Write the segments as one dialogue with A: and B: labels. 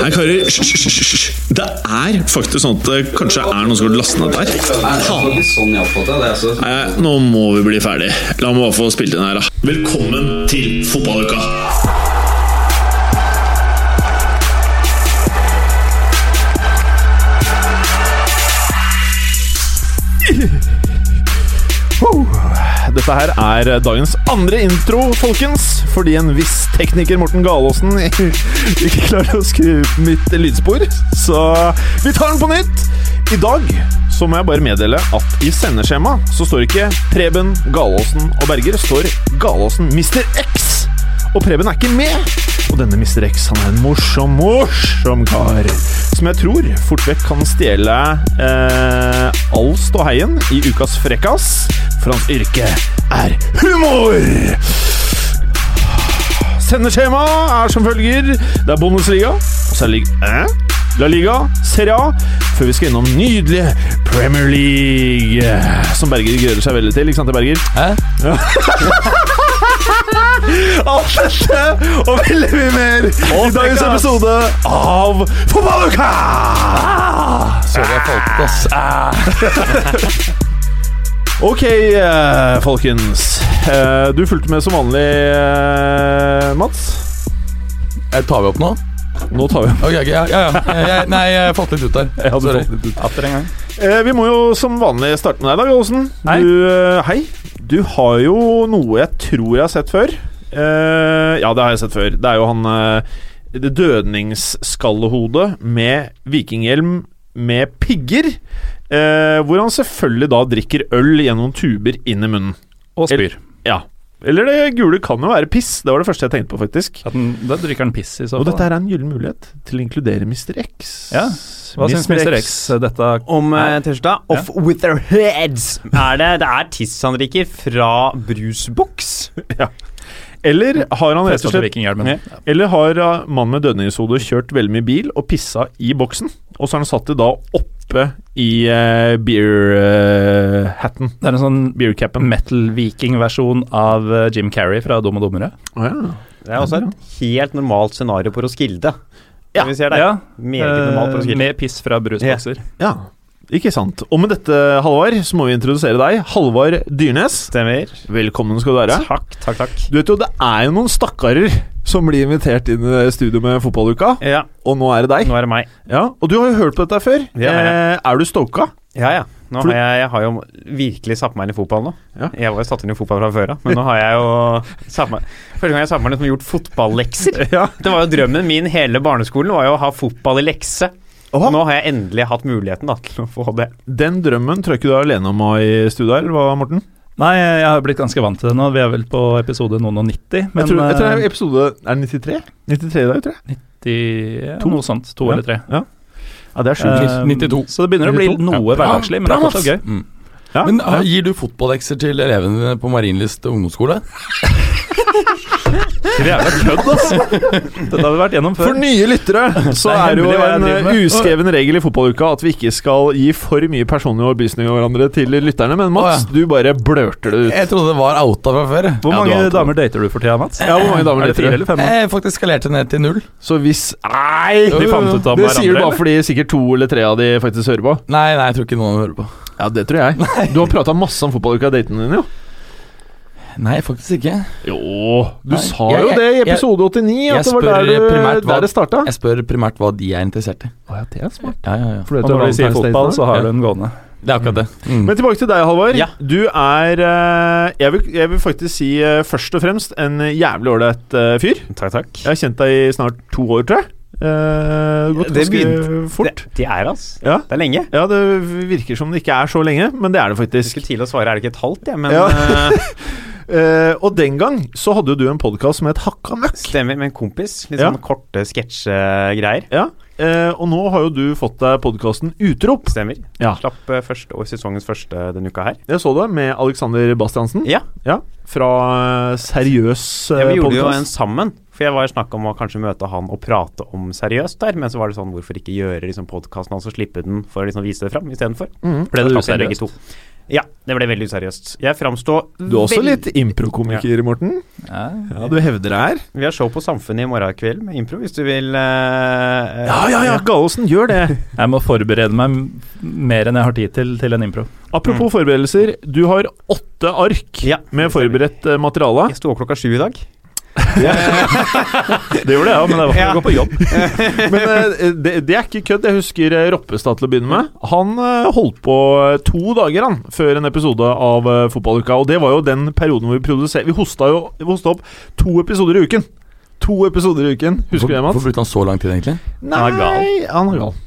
A: Nei, karer, hysj, hysj, hysj, hysj. Det er faktisk sånn at det kanskje er noen som har lastet ned der.
B: Sånn jeg oppfatter det. Altså.
A: Nei, nå må vi bli ferdig. La meg bare få spilt inn her, da. Velkommen til fotballuka!
C: Dette her er dagens andre intro, folkens. Fordi en viss tekniker, Morten Galaasen, ikke klarer å skru ut mitt lydspor. Så vi tar den på nytt. I dag så må jeg bare meddele at i sendeskjemaet så står ikke Preben, Galaasen og Berger. står Galaasen Mr. X. Og Preben er ikke med. Og denne Mr. X han er en morsom, morsom kar. Som jeg tror fort vekk kan stjele eh, all ståheien i ukas frekkas. For hans yrke er humor! Sendeskjema er som følger. Det er Bundesliga, og så er det lig eh? La Liga, Serie A, før vi skal innom nydelige Premier League. Som Berger gleder seg veldig til, ikke sant det, Berger? Alt dette og veldig mye mer i dagens episode av Fotballuka!
D: Sorry, jeg falt ut, ass.
C: Ah. Ok, eh, folkens. Eh, Du fulgte med som vanlig, eh, Mats.
D: Eh, Tar vi opp nå?
C: Nå tar vi opp.
D: Ok, ok, ja, ja, ja. Eh, Jeg, nei, jeg falt litt ut der.
C: Ja, du
D: Sorry.
C: falt litt ut.
B: Atter en gang.
C: Eh, Vi må jo som vanlig starte med deg, Dag Olsen.
B: Hei.
C: Du, eh, hei. Du har jo noe jeg tror jeg har sett før. Eh, Ja, det har jeg sett før. Det er jo han eh, det dødningsskallehodet med vikinghjelm med pigger. eh, Hvor han selvfølgelig da drikker øl gjennom tuber inn i munnen.
B: Og spyr.
C: Ja. Eller det gule kan jo være piss. Det var det første jeg tenkte på, faktisk.
B: At den, da drikker han piss i så
C: Og dette
B: fall.
C: her er en gyllen mulighet til å inkludere Mr. X.
B: Ja. Hva syns Mr. X dette
E: om
B: Nei.
C: eh,
E: uh, tirsdag. Off with their heads! Er det, det er tiss han drikker fra brusboks.
C: Eller har han rett og
B: Festa til
C: slett
B: vikinghjelmen?
C: Ja. Eller har uh, mannen med dødningshode kjørt veldig mye bil og pissa i boksen, og så har han satt det da oppe i eh, uh, beer-hatten.
B: Det er en sånn
C: Beer-capen.
B: metal-viking-versjon av eh, Jim Carrey fra Dum og dummere.
C: Å ja.
E: Det er også et helt normalt scenario på Roskilde. Ja. Vi ser der.
B: Ja,
E: Meget
B: eh,
E: normalt på Roskilde.
B: med piss fra brusbokser.
C: ja. Ikke sant. Og med dette, Halvard, så må vi introdusere deg. Halvard Dyrnes.
E: Eh, Stemmer.
C: Velkommen skal du være.
E: Takk, takk, takk.
C: Du vet jo, det er jo noen stakkarer som blir invitert inn i studio med fotballuka,
E: Ja,
C: og nå er det deg.
E: nå er det meg.
C: Ja, Og du har jo hørt på dette før.
E: Det har jeg.
C: Eh, er du stoka?
E: Ja, ja. Nå
C: For
E: har
C: du-
E: jeg, jeg har jo virkelig satt meg inn i fotball nå.
C: Ja.
E: Jeg var jo satt inn i fotball fra før av, men nå har jeg jo satt meg Første gang jeg satte meg inn som gjort fotballekser.
C: Ja.
E: Det var jo drømmen min hele barneskolen, var jo å ha fotball i lekse. Og nå har jeg endelig hatt muligheten da, til å få det.
C: Den drømmen tror jeg ikke du er alene om i studio her, eller hva, Morten?
B: Nei, jeg har blitt ganske vant til det nå. Vi er vel på episode noen og 90, men
C: jeg, tror, jeg tror det
B: eh,
C: er episode Er det 93? 93 i dag, tror jeg.
B: de, ja, noe sånt. To
C: Ja.
B: eller tre.
C: Ja, det er
B: Eh,
D: 92.
B: Så det begynner å bli
C: 92.
B: noe hverdagslig, men det er fortsatt gøy.
D: Mm.
C: ja,
D: Men eh, gir du fotballekser til elevene dine på Marienlyst ungdomsskole?
B: Det er jævla kødd, altså! Dette har vi vært gjennom
C: For
B: før.
C: nye lyttere så
B: Det er
C: er det jo
B: hemmelig hva jeg
C: en
B: driver
C: eh,
B: med.
C: uskreven regel i fotballuka at vi ikke skal gi for mye personlige overbevisninger om hverandre til lytterne, men Mats,
D: Å,
C: du bare blørter det ut.
D: Jeg trodde det var outa fra før.
C: Ja,
B: Hvor
C: du
B: mange
C: ante det.
B: damer dater du for tida, Mats?
C: Ja, hvor mange damer
B: er det
C: dater
B: fire
C: du?
B: eller fem?
D: Jeg faktisk skalerte ned til null.
C: Så hvis Nei!
D: Jo,
B: De
D: jo,
B: fant
D: jo.
B: ut av
C: Det sier du
B: hverandre.
C: bare fordi sikkert to eller tre av de faktisk hører på.
D: Nei, nei, jeg tror ikke noen hører på.
C: Ja, det tror jeg. Du har prata masse om fotballuka og datene dine, jo.
D: Nei, faktisk ikke.
C: Jo Du
D: Nei.
C: sa
D: Jeg-
C: jo
D: jeg-
C: det i
D: jeg-
C: episode 89,
D: jeg
C: at det var
D: spør
C: der, du,
D: primært hva-
C: der det starta.
D: Jeg spør primært hva de er interessert i.
C: Å ja, det er smart.
D: Ja, ja, ja.
C: For
B: Og når du sier fotball, så har du en gående.
D: Det er akkurat det. Mm.
C: Men tilbake til deg, Halvor.
E: Ja.
C: Du er eh, jeg vil, jeg vil faktisk si eh, først og fremst en jævlig ålreit eh, fyr.
E: Takk, takk.
C: Jeg har kjent deg i snart to år, tror jeg. Eh, det har gått
E: Det
C: ganske
E: begynte-
C: fort.
E: Det, det er altså.
C: Ja.
E: Det er lenge.
C: ja, det virker som det ikke er så lenge, men det er det
E: Jeg
C: faktisk.
E: skulle til å svare, er det ikke et halvt, jeg, men
C: Ja.
E: eh,
C: Eh, og den gang så hadde jo du en podkast som het Hakka møkk.
E: stemmer med en kompis. Litt
C: Ja.
E: sånn korte sketsjegreier.
C: Ja. eh, og nå har jo du fått deg podkasten Utrop.
E: Stemmer.
C: Ja.
E: Slapp eh, første, og sesongens første denne uka her.
C: Jeg så det med Alexander Bastiansen.
E: Ja.
C: Fra eh, seriøs
E: Ja, vi
C: eh,
E: gjorde jo en
C: podkast.
E: sammen, for jeg var i snakk om å kanskje møte han og prate om seriøst der, men så var det sånn hvorfor ikke gjøre liksom, podkasten hans og slippe den for å liksom, vise det fram istedenfor?
C: Mm.
B: Ble det
E: Slapp inn begge
B: useriøst?
E: to. Ja, det ble veldig useriøst. Jeg framstår
C: Du er også litt improkomiker, Morten.
B: Ja.
C: Ja, du hevder deg her.
E: Vi har show på Samfunnet i morgen kveld med impro, hvis du vil eh,
C: Ja, ja, ja, Gallosen, gjør det.
B: Jeg må forberede meg m- mer enn jeg har tid til til en impro.
C: Apropos forberedelser, du har åtte ark
E: Ja.
C: med forberedt eh, materiale.
E: Jeg sto opp klokka sju i dag.
B: Det gjorde jeg òg, men det var for å gå på jobb.
C: Men eh, det, det er ikke kødd. Jeg husker eh, Roppestad til å begynne med. Han eh, holdt på eh, to dager han, før en episode av eh, Fotballuka. Og det var jo den perioden hvor vi produserte Vi hosta jo vi hosta opp to episoder i uken. To episoder i uken. Husker du det, Mats?
D: Hvorfor brukte han så lang tid, egentlig?
C: Nei,
B: er gal.
C: Han er gal.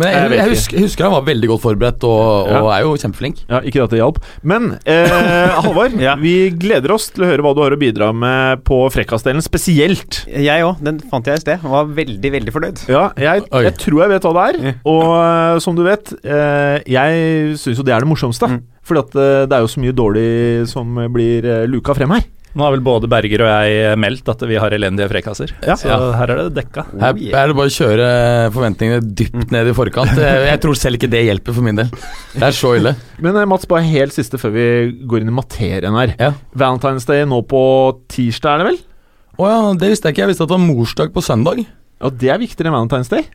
D: Men
C: Jeg
D: jeg,
C: vet
D: jeg,
C: ikke.
D: husker, jeg husker han var veldig godt forberedt, og, og er jo kjempeflink.
C: Ja, Ikke at det hjalp. Men eh, Halvard,
E: Ja.
C: vi gleder oss til å høre hva du har å bidra med på Frekkasdelen spesielt.
E: Jeg òg. Den fant jeg i sted. og Var veldig, veldig fornøyd.
C: Ja, jeg,
D: Oi.
C: jeg tror jeg vet hva det er. Og eh, som du vet, eh, jeg syns jo det er det morsomste.
E: Mm.
C: Fordi at eh, det er jo så mye dårlig som eh, blir eh, luka frem her.
B: Nå har vel både Berger og jeg eh, meldt at vi har elendige frekkaser,
C: Ja.
B: så her er det dekka.
D: Her
E: Oh, yeah.
D: er det bare å kjøre forventningene dypt ned i forkant. Jeg, jeg tror selv ikke det hjelper for min del. Det er så ille.
C: Men eh, Mats, bare helt siste før vi går inn i materien her.
D: Ja.
C: Valentine's Day nå på tirsdag, er det vel?
D: Å ja, det visste jeg ikke. Jeg visste at det var morsdag på søndag.
C: Ja, det er viktigere enn Valentine's Day.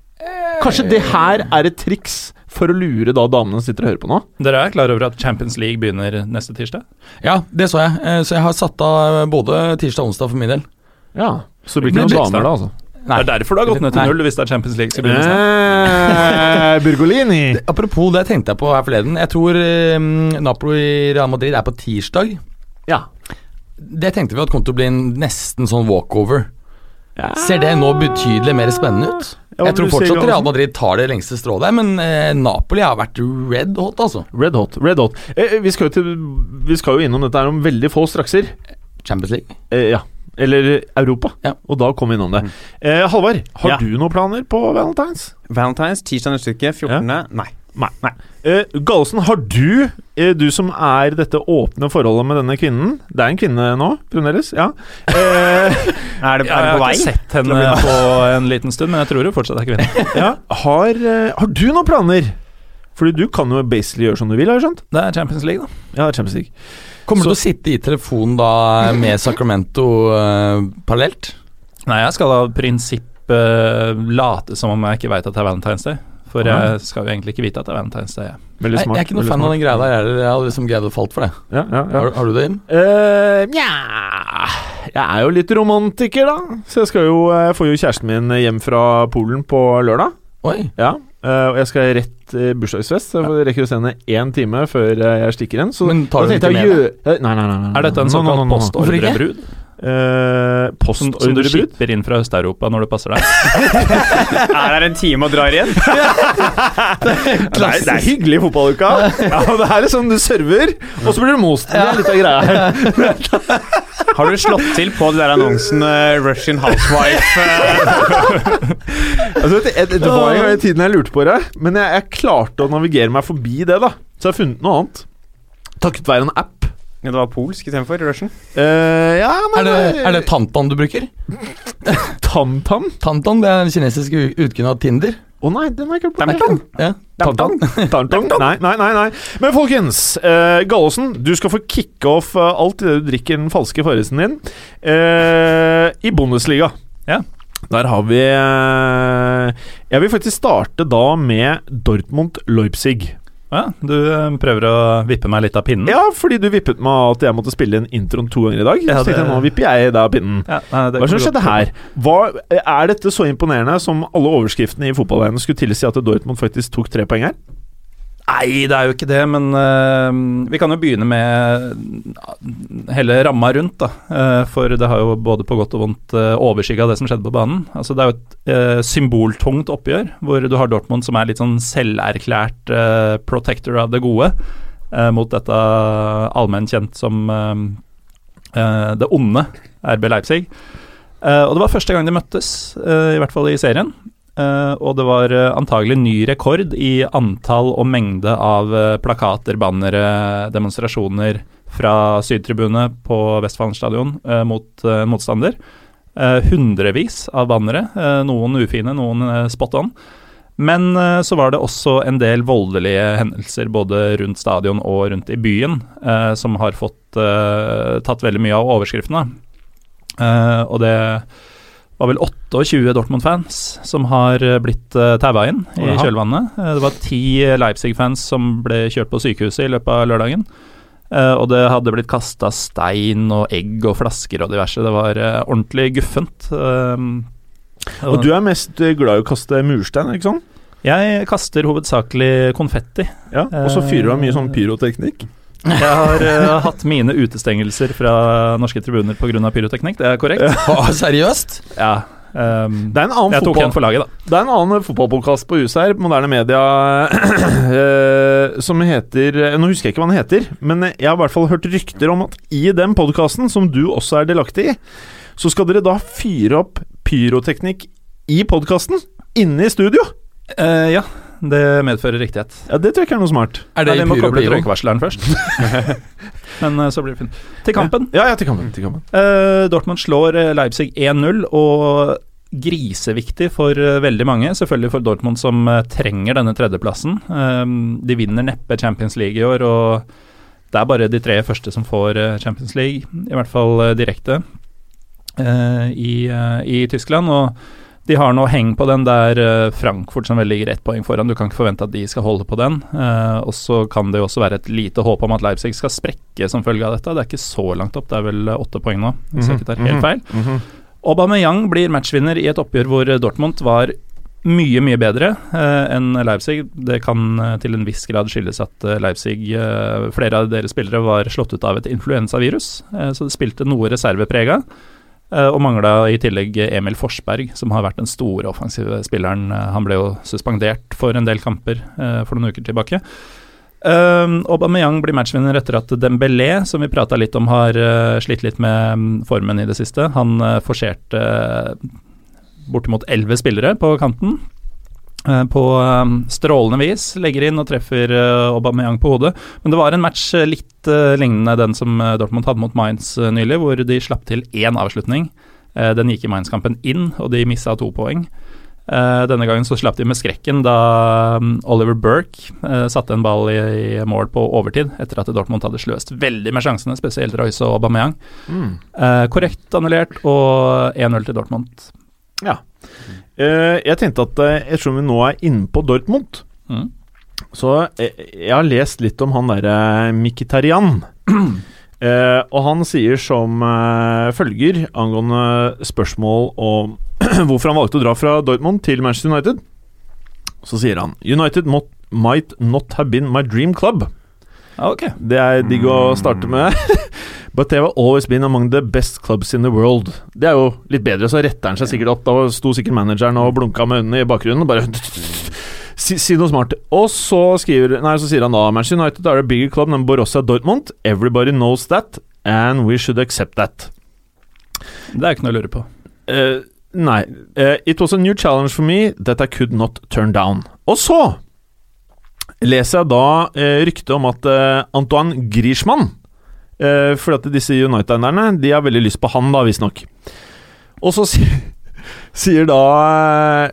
C: Kanskje det her er et triks for å lure da damene som sitter og hører på nå?
B: Dere er klar over at Champions League begynner neste tirsdag?
D: Ja, det så jeg. Eh, Så jeg har satt av både tirsdag og onsdag for min del.
C: Ja. Så det blir ikke
B: Det blir
C: noen
B: triks, da.
C: damer da, altså.
D: Nei.
B: Det er derfor det har gått ned til
D: Nei.
B: null hvis det er Champions League skal begynne snart.
C: Eh, Burgolini.
D: Apropos det tenkte jeg på her forleden. Jeg tror eh, Napoli-Real Madrid er på tirsdag.
C: Ja.
D: Det tenkte vi at kom til å bli en nesten sånn walkover.
C: Ja.
D: Ser det nå betydelig mer spennende ut?
C: Ja,
D: jeg
C: men du
D: tror
C: ser
D: fortsatt
C: jo-
D: Real Madrid tar det lengste strået der, men eh, Napoli har vært red hot, altså.
C: Red hot. Red hot. Eh, eh, vi, skal jo til, vi skal jo innom dette her om veldig få strakser.
D: Champions League.
C: Eh, ja. Eller Europa.
D: Ja.
C: Og da kom vi innom det. Eh, Halvard, har
E: Ja.
C: du noen planer på Valentine's?
E: Valentine's tirsdag neste uke. 14. Nei.
C: Nei. Eh, Gallosen, har du, eh, du som er dette åpne forholdet med denne kvinnen Det er en kvinne nå, fremdeles? Ja. Eh,
E: Er det, er det
B: Ja, jeg
E: på
B: har
E: vei?
B: ikke sett henne på en liten stund, men jeg tror hun fortsatt er kvinne.
C: ja. Har, eh, har du noen planer? Fordi du kan jo basically gjøre som du vil, har jeg skjønt?
B: Det er Champions League, da.
C: Ja, Champions League.
D: Kommer
C: Så-
D: du til å sitte i telefonen da med Sacramento eh, parallelt?
B: Nei, jeg skal av prinsipp eh, late som om jeg ikke veit at det er Valentine's Day. For
C: Ah.
B: jeg skal jo egentlig ikke vite at det er Valentine's Day. jeg.
C: Veldig
D: Nei,
C: smart.
D: jeg er ikke noe
C: veldig
D: fan av
C: smart.
D: den greia der. Jeg, jeg hadde liksom greid å falt for det.
C: Ja, ja, ja.
D: Har, har du det, Jim?
C: Eh, Nja Jeg er jo litt romantiker, da. Så jeg skal jo, eh, får jo kjæresten min hjem fra Polen på lørdag.
D: Oi.
C: Ja eh, Og jeg skal rett eh, bursdagsfest, så jeg rekker å se henne én time før eh, jeg stikker igjen. Så
D: Men tar
C: da
D: du
C: tenkte jeg
D: ikke med deg?
C: gjø- Eh, Nei, nei, nei, nei, nei.
B: Er dette en
C: Nå, nå,
B: såkalt
C: nå, nå, nå.
B: postordrebrud?
C: Eh,
B: Som, som du
C: Postordrebrud?
B: skipper inn fra Øst-Europa når det passer deg?
E: Er her en time og drar igjen?
C: Nei, det er hyggelig i fotballuka. Ja, det er liksom du server, og så blir du most. Det er litt av greia her.
E: Har du slått til på den der annonsen eh, Russian Housewife? eh?
C: Altså, vet du, jeg- det var en gang i tiden jeg lurte på det, men jeg, jeg klarte å navigere meg forbi det. da Så jeg har funnet noe annet. Takket være en app.
E: Ja, det var polsk istedenfor Russian.
C: Eh, ja, men
D: Er det, er det Tantan du bruker?
C: TamTam?
D: Tantan det er den kinesiske u- utgående av Tinder.
C: Å nei, den har jeg ikke hørt på.
D: Tantan? Ja.
C: Tantan? Tantan? Nei, nei, nei, nei. Men folkens, eh, Gallosen, du skal få kickoff eh, alt det du drikker den falske farrisen din eh, i Bundesliga.
B: Ja.
C: Der har vi eh, Jeg vil faktisk starte da med Dortmund-Leipzig.
B: Ja, du eh, prøver å vippe meg litt av pinnen?
C: Ja, fordi du vippet meg av at jeg måtte spille inn introen to ganger i dag.
B: Ja,
C: så tenkte
B: det-
C: jeg, nå vipper jeg deg av pinnen.
B: Ja, nei, det
C: Hva er det som
B: kommer
C: skjedde
B: godt.
C: her? Hva, er dette så imponerende som alle overskriftene i fotballverdenen skulle tilsi at Dortmund faktisk tok tre poeng her?
B: Nei, det er jo ikke det, men eh, vi kan jo begynne med eh, hele ramma rundt, da. Eh, for det har jo både på godt og vondt uh, overskygga det som skjedde på banen. Altså Det er jo et eh, symboltungt oppgjør, hvor du har Dortmund som er litt sånn selverklært eh, protector av det gode, eh, mot dette allmenn kjent som eh, eh, det onde RB Leipzig. Eh, og det var første gang de møttes, eh, i hvert fall i serien. Eh, og det var eh, antagelig ny rekord i antall og mengde av eh, plakater, bannere, demonstrasjoner fra Sydtribunet på Vestfallen stadion eh, mot eh, motstander. Eh, hundrevis av bannere, eh, noen ufine, noen eh, spot on. Men eh, så var det også en del voldelige hendelser både rundt stadion og rundt i byen, eh, som har fått eh, tatt veldig mye av overskriftene. Eh, og det var vel 28 Dortmund-fans som har eh, blitt uh, taua inn i
E: Jaha.
B: kjølvannet. Eh, det var ti Leipzig-fans som ble kjørt på sykehuset i løpet av lørdagen. Eh, og det hadde blitt kasta stein og egg og flasker og diverse. Det var eh, ordentlig guffent. eh,
C: Og du er mest eh, glad i å kaste murstein, ikke sant?
B: jeg kaster hovedsakelig konfetti.
C: Ja, Og så fyrer du av mye sånn pyroteknikk.
B: Jeg har eh, hatt mine utestengelser fra norske tribuner pga. pyroteknikk, det er korrekt?
D: Å, seriøst?
B: Ja. ehm,
C: Det er en annen
B: jeg tok
C: fotball
B: en for laget, da.
C: Det er en annen fotballpodkast på huset her, moderne media, eh, som heter eh, Nå husker jeg ikke hva den heter, men jeg har i hvert fall hørt rykter om at i den podkasten, som du også er delaktig i, så skal dere da fyre opp pyroteknikk i podkasten, inne i studio.
B: Eh, ja, det medfører riktighet.
C: Ja, Det tror jeg ikke er noe smart.
D: Er
B: Nei,
D: det
B: vi må
D: pyro
B: koble
D: pyro?
B: røykvarsleren først. Men eh, så blir det fint. Til kampen.
C: Ja, ja, til kampen. Til kampen.
B: Eh, Dortmund slår eh, Leipzig 1-0, og griseviktig for eh, veldig mange. Selvfølgelig for Dortmund, som eh, trenger denne tredjeplassen. Eh, de vinner neppe Champions League i år, og det er bare de tre første som får eh, Champions League, i hvert fall eh, direkte, eh, i, eh, i Tyskland. og de har nå heng på den der eh, Frankfurt som vel ligger ett poeng foran. Du kan ikke forvente at de skal holde på den. Eh, og så kan det jo også være et lite håp om at Leipzig skal sprekke som følge av dette. Det er ikke så langt opp, det er vel eh, åtte poeng nå, hvis jeg ikke tar helt feil.
C: Mhm.
B: Aubameyang blir matchvinner i et oppgjør hvor eh, Dortmund var mye, mye bedre eh, enn Leipzig. Det kan eh, til en viss grad skyldes at eh, Leipzig, eh, flere av deres spillere, var slått ut av et influensavirus, eh, så det spilte noe reserveprega. Eh, og mangla i tillegg Emil Forsberg, som har vært den store offensive spilleren. Eh, Han ble jo suspendert for en del kamper eh, for noen uker tilbake. Um, Aubameyang blir matchvinner etter at Dembélé, som vi prata litt om, har eh, slitt litt med mm, formen i det siste. Han eh, forserte eh, bortimot elleve spillere på kanten. eh, På eh, strålende vis. Legger inn og treffer eh, Aubameyang på hodet. Men det var en match eh, litt eh, lignende den som eh, Dortmund hadde mot Mainz eh, nylig, hvor de slapp til én avslutning. Eh, den gikk i Mainz-kampen inn, og de mista to poeng. Eh, denne gangen så slapp de med skrekken da mm, Oliver Burke eh, satte en ball i, i mål på overtid, etter at Dortmund hadde sløst veldig med sjansene, spesielt Royce og Aubameyang.
C: Mm.
B: Eh, korrekt annullert og 1-0 til Dortmund.
C: Eh, jeg tenkte at eh, ettersom vi nå er inne på Dortmund,
B: Mm.
C: Så eh, jeg har lest litt om han derre Mkhitarian. Eh, og han sier som eh, følger angående spørsmål om hvorfor han valgte å dra fra Dortmund til Manchester United. Så sier han United mot, might not have been my dream club.
B: Ja, ok.
C: Det er digg å starte med. But they have always been among the best clubs in the world. Det er jo litt bedre, så retter han seg sikkert opp. Da sto sikkert manageren og blunka med øynene i bakgrunnen og bare si, si noe smart. Og så, skriver, nei, så sier han da Manchester United are a bigger club than Borussia Dortmund. Everybody knows that, and we should accept that.
B: Det er ikke noe å lure på.
C: Eh, nei. Eh, it was a new challenge for me that I could not turn down. Og så leser jeg da eh, ryktet om at eh, Antoine Griezmann eh, For at disse United-eierne De har veldig lyst på han, da, visstnok. Og så si, sier da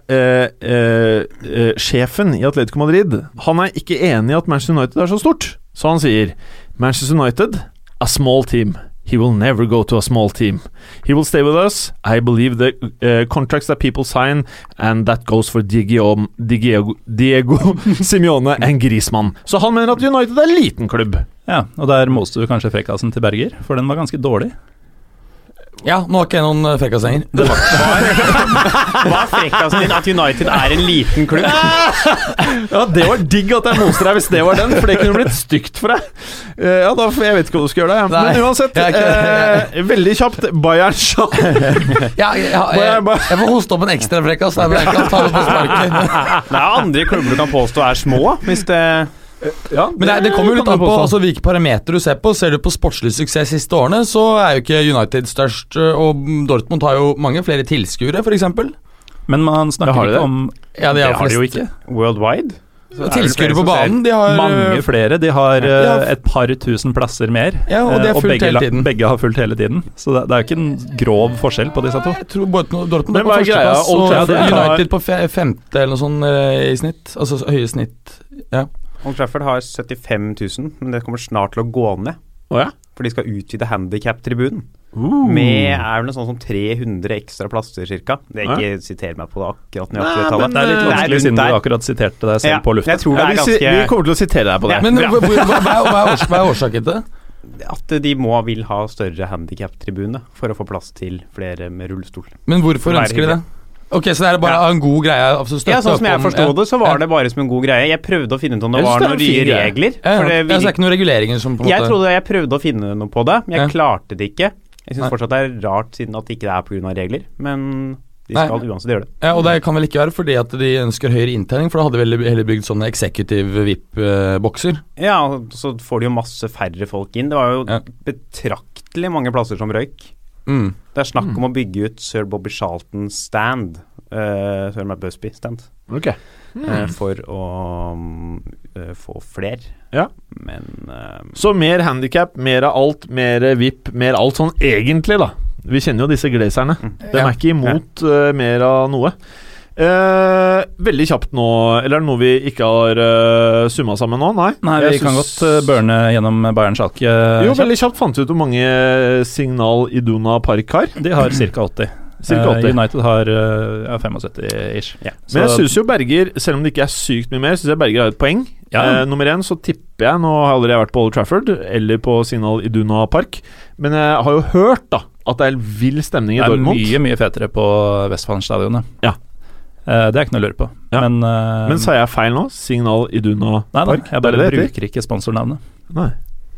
C: eh, eh, eh, sjefen i Atletico Madrid Han er ikke enig i at Manchester United er så stort, så han sier Manchester United, a small team. He will never go to a small team. He will stay with us. I believe the uh, contracts that people sign, and that goes for Diego, Diego, Diego Simione and Griezmann. Så han mener at United er en liten klubb.
B: Ja, og der moste du kanskje frekkasen til Berger, for den var ganske dårlig.
D: Ja, nå har ikke jeg noen eh, frekkasenger.
E: Hva er frekkasen din? At United er en liten klubb?
C: Ja, Det var digg at jeg moser deg hvis det var den, for det kunne blitt stygt for deg. Eh, ja, da, Jeg vet ikke hva du skal gjøre der, jeg.
D: Nei,
C: men uansett.
D: jeg er ikke-
C: eh, veldig kjapt. Bayern Schalke.
D: Ja, jeg, jeg, jeg, jeg får hoste opp en ekstra frekkas. der, men Jeg kan ta det på sparket.
E: Det er andre klubber du kan påstå er små, hvis det
D: Men det, det kommer jo litt
C: kan
D: an
C: du
D: på
C: påstå.
D: altså, hvilke parametere du ser på. Ser du på sportslig suksess siste årene, så er jo ikke United størst. eh, Og Dortmund har jo mange flere tilskuere, f.eks.
B: Men man snakker
C: har de
B: ikke
C: det.
B: om
D: Ja, de
B: Det
D: er
B: har de jo
D: flest-
B: ikke.
E: Worldwide? Så det er vel
D: Tilskuere på
E: flere som ser.
D: banen, de har eh,
B: Mange flere. De har eh,
D: Ja.
B: et par tusen plasser mer.
D: Ja, og de
B: eh,
D: har fulgt
B: begge,
D: hele
B: la-
D: tiden.
B: begge har fulgt hele tiden. Så det, det er jo ikke en grov forskjell på disse to.
D: Jeg tror Dortmund, Dortmund er
C: Men
D: på
C: hva er greia?
D: førsteplass,
C: Old
D: og
C: Trafford har-
D: United på fe femte eller noe sånt eh, i snitt. Altså så- høye snitt.
E: Old Trafford har 75 000, men det kommer snart til å gå ned.
C: Å ja? Uh.
E: For de skal utvide handikap-tribunen. Uh. Med er vel noe sånt som 300 ekstra plasser, cirka. Det er ikke siter meg på det akkurat nøyaktige
C: Nei,
E: tallet.
C: men, eh,
B: Det er litt
C: Det er
B: vanskelig
E: rundt
B: siden
E: der.
B: du akkurat siterte deg selv
E: Ja,
B: på lufta.
E: Jeg tror det
C: Ja,
E: er
C: vi, si- vi
E: ganske
C: kommer til å sitere deg på det.
D: Men hvor- hvor- hva, hva, er- hva, er års, hva er årsaken til det?
E: At de må vil ha større handikap-tribune for å få plass til flere med rullestol.
D: Men hvorfor
E: Være
D: ønsker de det?
E: hyggelig.
D: Ok, Så det er bare
E: Ja.
D: en god greie? Altså støtte
E: Ja, sånn
D: opp
E: som jeg
D: om-
E: forsto
D: ja.
E: det, så var
D: Ja.
E: det bare som en god greie. Jeg prøvde å finne ut om det
C: Jeg synes
E: var
C: det er
E: noen
C: en fin
E: nye
C: greie.
E: regler.
D: Ja,
E: For
D: ja.
E: det
D: Ja, så det er ikke noen reguleringer som på en
E: Jeg
D: måte
E: trodde jeg prøvde å finne noe på det, men jeg
D: Ja.
E: klarte det ikke.
D: Nei.
E: Jeg syns fortsatt det er rart siden at det ikke er pga. regler, men de
D: Nei.
E: skal uansett gjøre det.
D: ja, Og det kan vel ikke være fordi at de ønsker høyere inntjening, for da hadde de vel heller bygd sånne executive VIP-bokser.
E: Ja, og så får de jo masse færre folk inn. Det var jo
D: Ja.
E: betraktelig mange plasser som røyk.
D: Mm.
E: Det er snakk om å bygge ut sir Bobby Charlton stand, uh, sir Matt Busby stand,
C: Ok.
E: eh, for å mm, eh, få fler.
C: Ja.
E: Men eh,
C: Så mer handikap, mer av alt, mer VIP, mer alt sånn egentlig, da. Vi kjenner jo disse glazerne. De
D: Mm. Ja.
C: er ikke imot eh, mer av noe. Eh, veldig kjapt nå, eller er det noe vi ikke har uh, summa sammen nå? Nei,
B: Nei, vi
C: Jeg
B: kan godt
C: syns-
B: eh, burne gjennom Bayern Schalke. eh,
C: Jo,
B: kjapt.
C: veldig kjapt fant vi ut hvor mange Signal Iduna Park har.
B: De har ca. 80.
C: Cirka
B: Eh,
C: 80.
B: United har eh, ja, 75-ish.
E: Ja.
B: Så-
C: Men jeg syns jo Berger, selv om det ikke er sykt mye mer, synes jeg Berger har et poeng.
B: Ja.
C: Eh, nummer én så tipper jeg Nå har jeg aldri vært på Old Trafford eller på Signal Iduna Park, men jeg har jo hørt da at det er vill stemning i
B: det er
C: Dortmund.
B: mye, mye fetere på Westfalenstadionet.
C: Ja.
B: Eh, det er ikke noe å lure på.
C: Ja.
B: Men, eh,
C: Men sa jeg feil nå? Signal Iduna
B: Nei da,
C: Park?
B: jeg
C: Det
B: bare
C: er det det heter?
B: bruker ikke sponsornavnet.
C: Nei.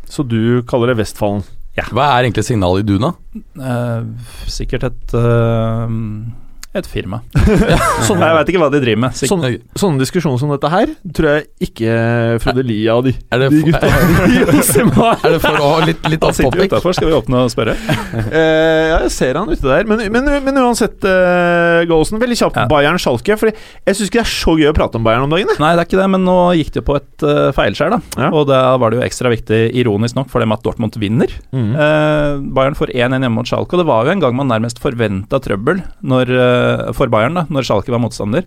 C: Så du kaller det Vestfallen?
D: Hva er egentlig signalet i Duna?
B: Eh, sikkert et eh, et firma.
C: Sånn-
B: jeg veit ikke hva de driver med. Sikkert.
C: Sånne, Sånn- sånne diskusjoner som dette her tror jeg ikke Frode Lia og de,
D: Er det
C: de
D: for,
C: gutta
D: er,
C: i Åsheim har.
D: er det for å ha litt, litt
B: Han sitter jo
D: opphopping?
B: utafor, skal vi åpne og spørre?
C: Eh, ja, jeg ser han ute der. Men, men, men uansett, uh, Gallosen, veldig kjapt
B: Ja.
C: Bayern-Schalke. For jeg syns ikke det er så gøy å prate om Bayern om dagen. jeg.
B: Nei, det er ikke det, men nå gikk det jo på et eh, feilskjær, da.
C: Ja.
B: Og da var det jo ekstra viktig, ironisk nok, for dem at Dortmund vinner.
C: Mhm.
B: Eh, Bayern får 1-1 hjemme mot Schalke, og det var jo en gang man nærmest forventa trøbbel når, eh, for Bayern da, når Schalke var motstander.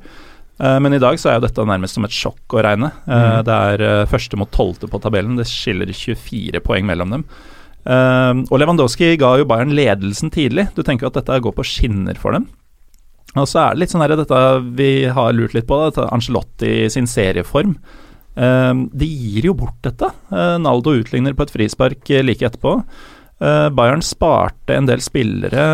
B: Eh, men i dag så er jo dette nærmest som et sjokk å regne. Eh, Det er eh, første mot tolvte på tabellen. Det skiller 24 poeng mellom dem. Eh, og Lewandowski ga jo Bayern ledelsen tidlig. Du tenker jo at dette går på skinner for dem. Og så er det litt sånn her, dette vi har lurt litt på, da, dette Angelotti sin serieform. Eh, de gir jo bort dette. Eh, Naldo utligner på et frispark eh, like etterpå. Eh, Bayern sparte en del spillere.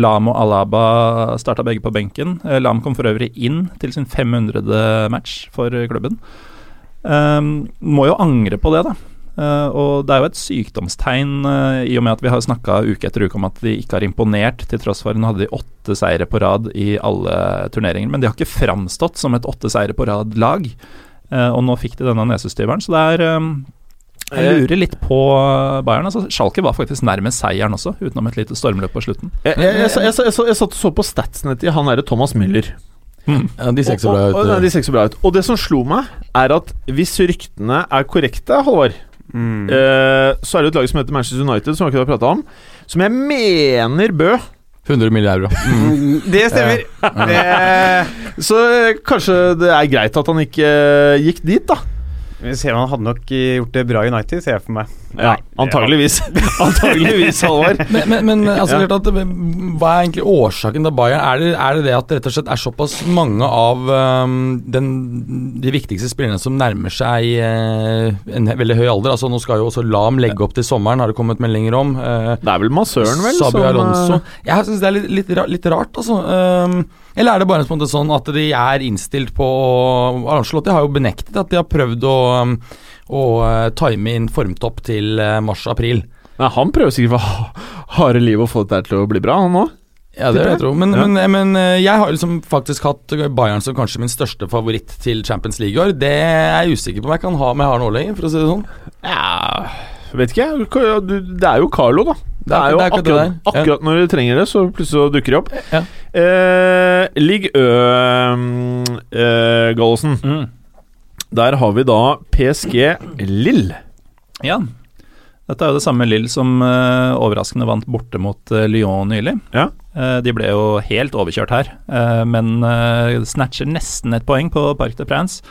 B: Lam og Alaba starta begge på benken. Eh, Lam kom for øvrig inn til sin 500. match for klubben. Eh, må jo angre på det, da. Eh, og det er jo et sykdomstegn, eh, i og med at vi har snakka uke etter uke om at de ikke har imponert, til tross for at nå hadde de åtte seire på rad i alle turneringer. Men de har ikke framstått som et åtte seire på rad-lag. Eh, og nå fikk de denne nesestyveren, så det er eh, Jeg lurer litt på Bayern. Altså, Schalke var faktisk nærmest seieren også, utenom et lite stormløp på slutten.
C: Jeg, jeg, jeg, jeg, jeg, jeg satt og så på statsene til han derre Thomas Müller.
D: Ja, de ser ikke
C: Og-
D: så bra ut. eh.
C: og- og- nei, de ser ikke så bra ut. Og det som slo meg, er at hvis ryktene er korrekte, Halvor,
E: mm.
C: eh, så er det et lag som heter Manchester United, som vi ikke har prata om, som jeg mener Bø
D: 100 milliarder euro. Mm.
E: Det stemmer. Det,
C: Så eh, kanskje det er greit at han ikke eh, gikk dit, da.
E: vi ser man hadde nok gjort det bra i United, ser jeg for meg.
C: Ja, antageligvis. antageligvis, Halvor.
D: Men, men, men altså,
C: Ja.
D: klart at, hva er egentlig årsaken til Bayern? Er det, er det det at det rett og slett er såpass mange av øhm, den, de viktigste spillerne som nærmer seg øh, en he- veldig høy alder? Altså Nå skal jo også Lam legge opp til sommeren, har det kommet meldinger om. øh,
C: Det er vel massøren, vel?
D: Sabi
C: som, eh,
D: Alonso. Jeg syns det er litt, litt, ra- litt rart, altså. Ehm, eller er det bare på en måte sånn at de er innstilt på Arrangelotti har jo benektet at de har prøvd å, um, å eh, time inn formtopp til eh, mars-april.
C: Nei, Han prøver sikkert for ha- harde livet å få dette her til å bli bra, han òg.
D: Ja, det vil jeg tro. Men,
C: Ja.
D: men, men eh, jeg har jo liksom faktisk hatt Bayern som kanskje min største favoritt til Champions League i år. Det er jeg usikker på om jeg kan ha om jeg har nå lenger, for å si det sånn.
C: Ja, vet ikke jeg. Ka- du- Det er jo Carlo, da. Det er jo
D: det er akkurat
C: akkurat,
D: det der. Ja.
C: akkurat når du trenger det, så plutselig så dukker de opp.
D: Ja.
C: Eh, Ligg Ø mm, eh, Gallosen. Der har vi da PSG Lill.
B: Ja. Dette er jo det samme Lill som eh, overraskende vant borte mot eh, Lyon nylig.
C: Ja.
B: Eh, de ble jo helt overkjørt her, eh, men eh, snatcher nesten et poeng på Parc de Prince.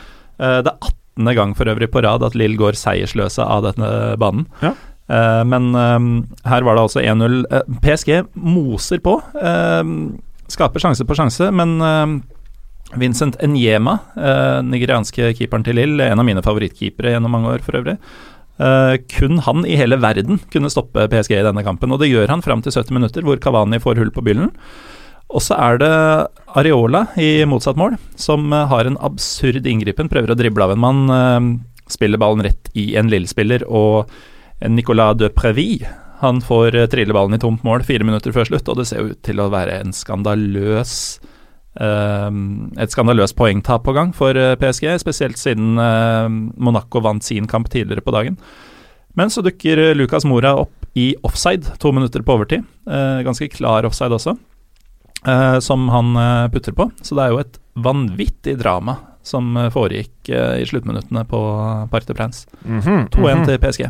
B: Eh, det er 18. gang for øvrig på rad at Lill går seiersløse av denne banen.
C: Ja.
B: Eh, men eh, her var det altså 1-0. Eh, PSG moser på. eh, skaper sjanse på sjanse, men eh, Vincent Enyema, eh, nigerianske keeperen til Lill, en av mine favorittkeepere gjennom mange år for øvrig. Eh, kun han i hele verden kunne stoppe PSG i denne kampen, og det gjør han fram til 70 minutter, hvor Kavani får hull på byllen. Og så er det Areola i motsatt mål, som eh, har en absurd inngripen. Prøver å drible av en mann, eh, spiller ballen rett i en Lille-spiller, og Nicolas de Préville han får eh, trille ballen i tomt mål fire minutter før slutt, og det ser jo ut til å være en skandaløs eh, et skandaløst poengtap på gang for eh, PSG, spesielt siden eh, Monaco vant sin kamp tidligere på dagen. Men så dukker eh, Lucas Mora opp i offside, to minutter på overtid. Eh, ganske klar offside også, eh, som han eh, putter på. Så det er jo et vanvittig drama som eh, foregikk eh, i sluttminuttene på Parc de Prince.
D: Mhm.
B: 2-1
C: Mhm.
B: til PSG.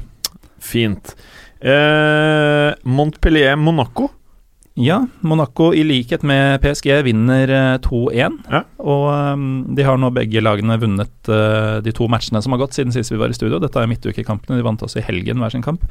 C: Fint. Eh, Montpellier Monaco.
B: Ja, Monaco i likhet med PSG vinner eh, 2-1.
C: Ja.
B: Og ehm, de har nå begge lagene vunnet eh, de to matchene som har gått siden sist vi var i studio. Dette er midtukekampene, de vant også i helgen hver sin kamp.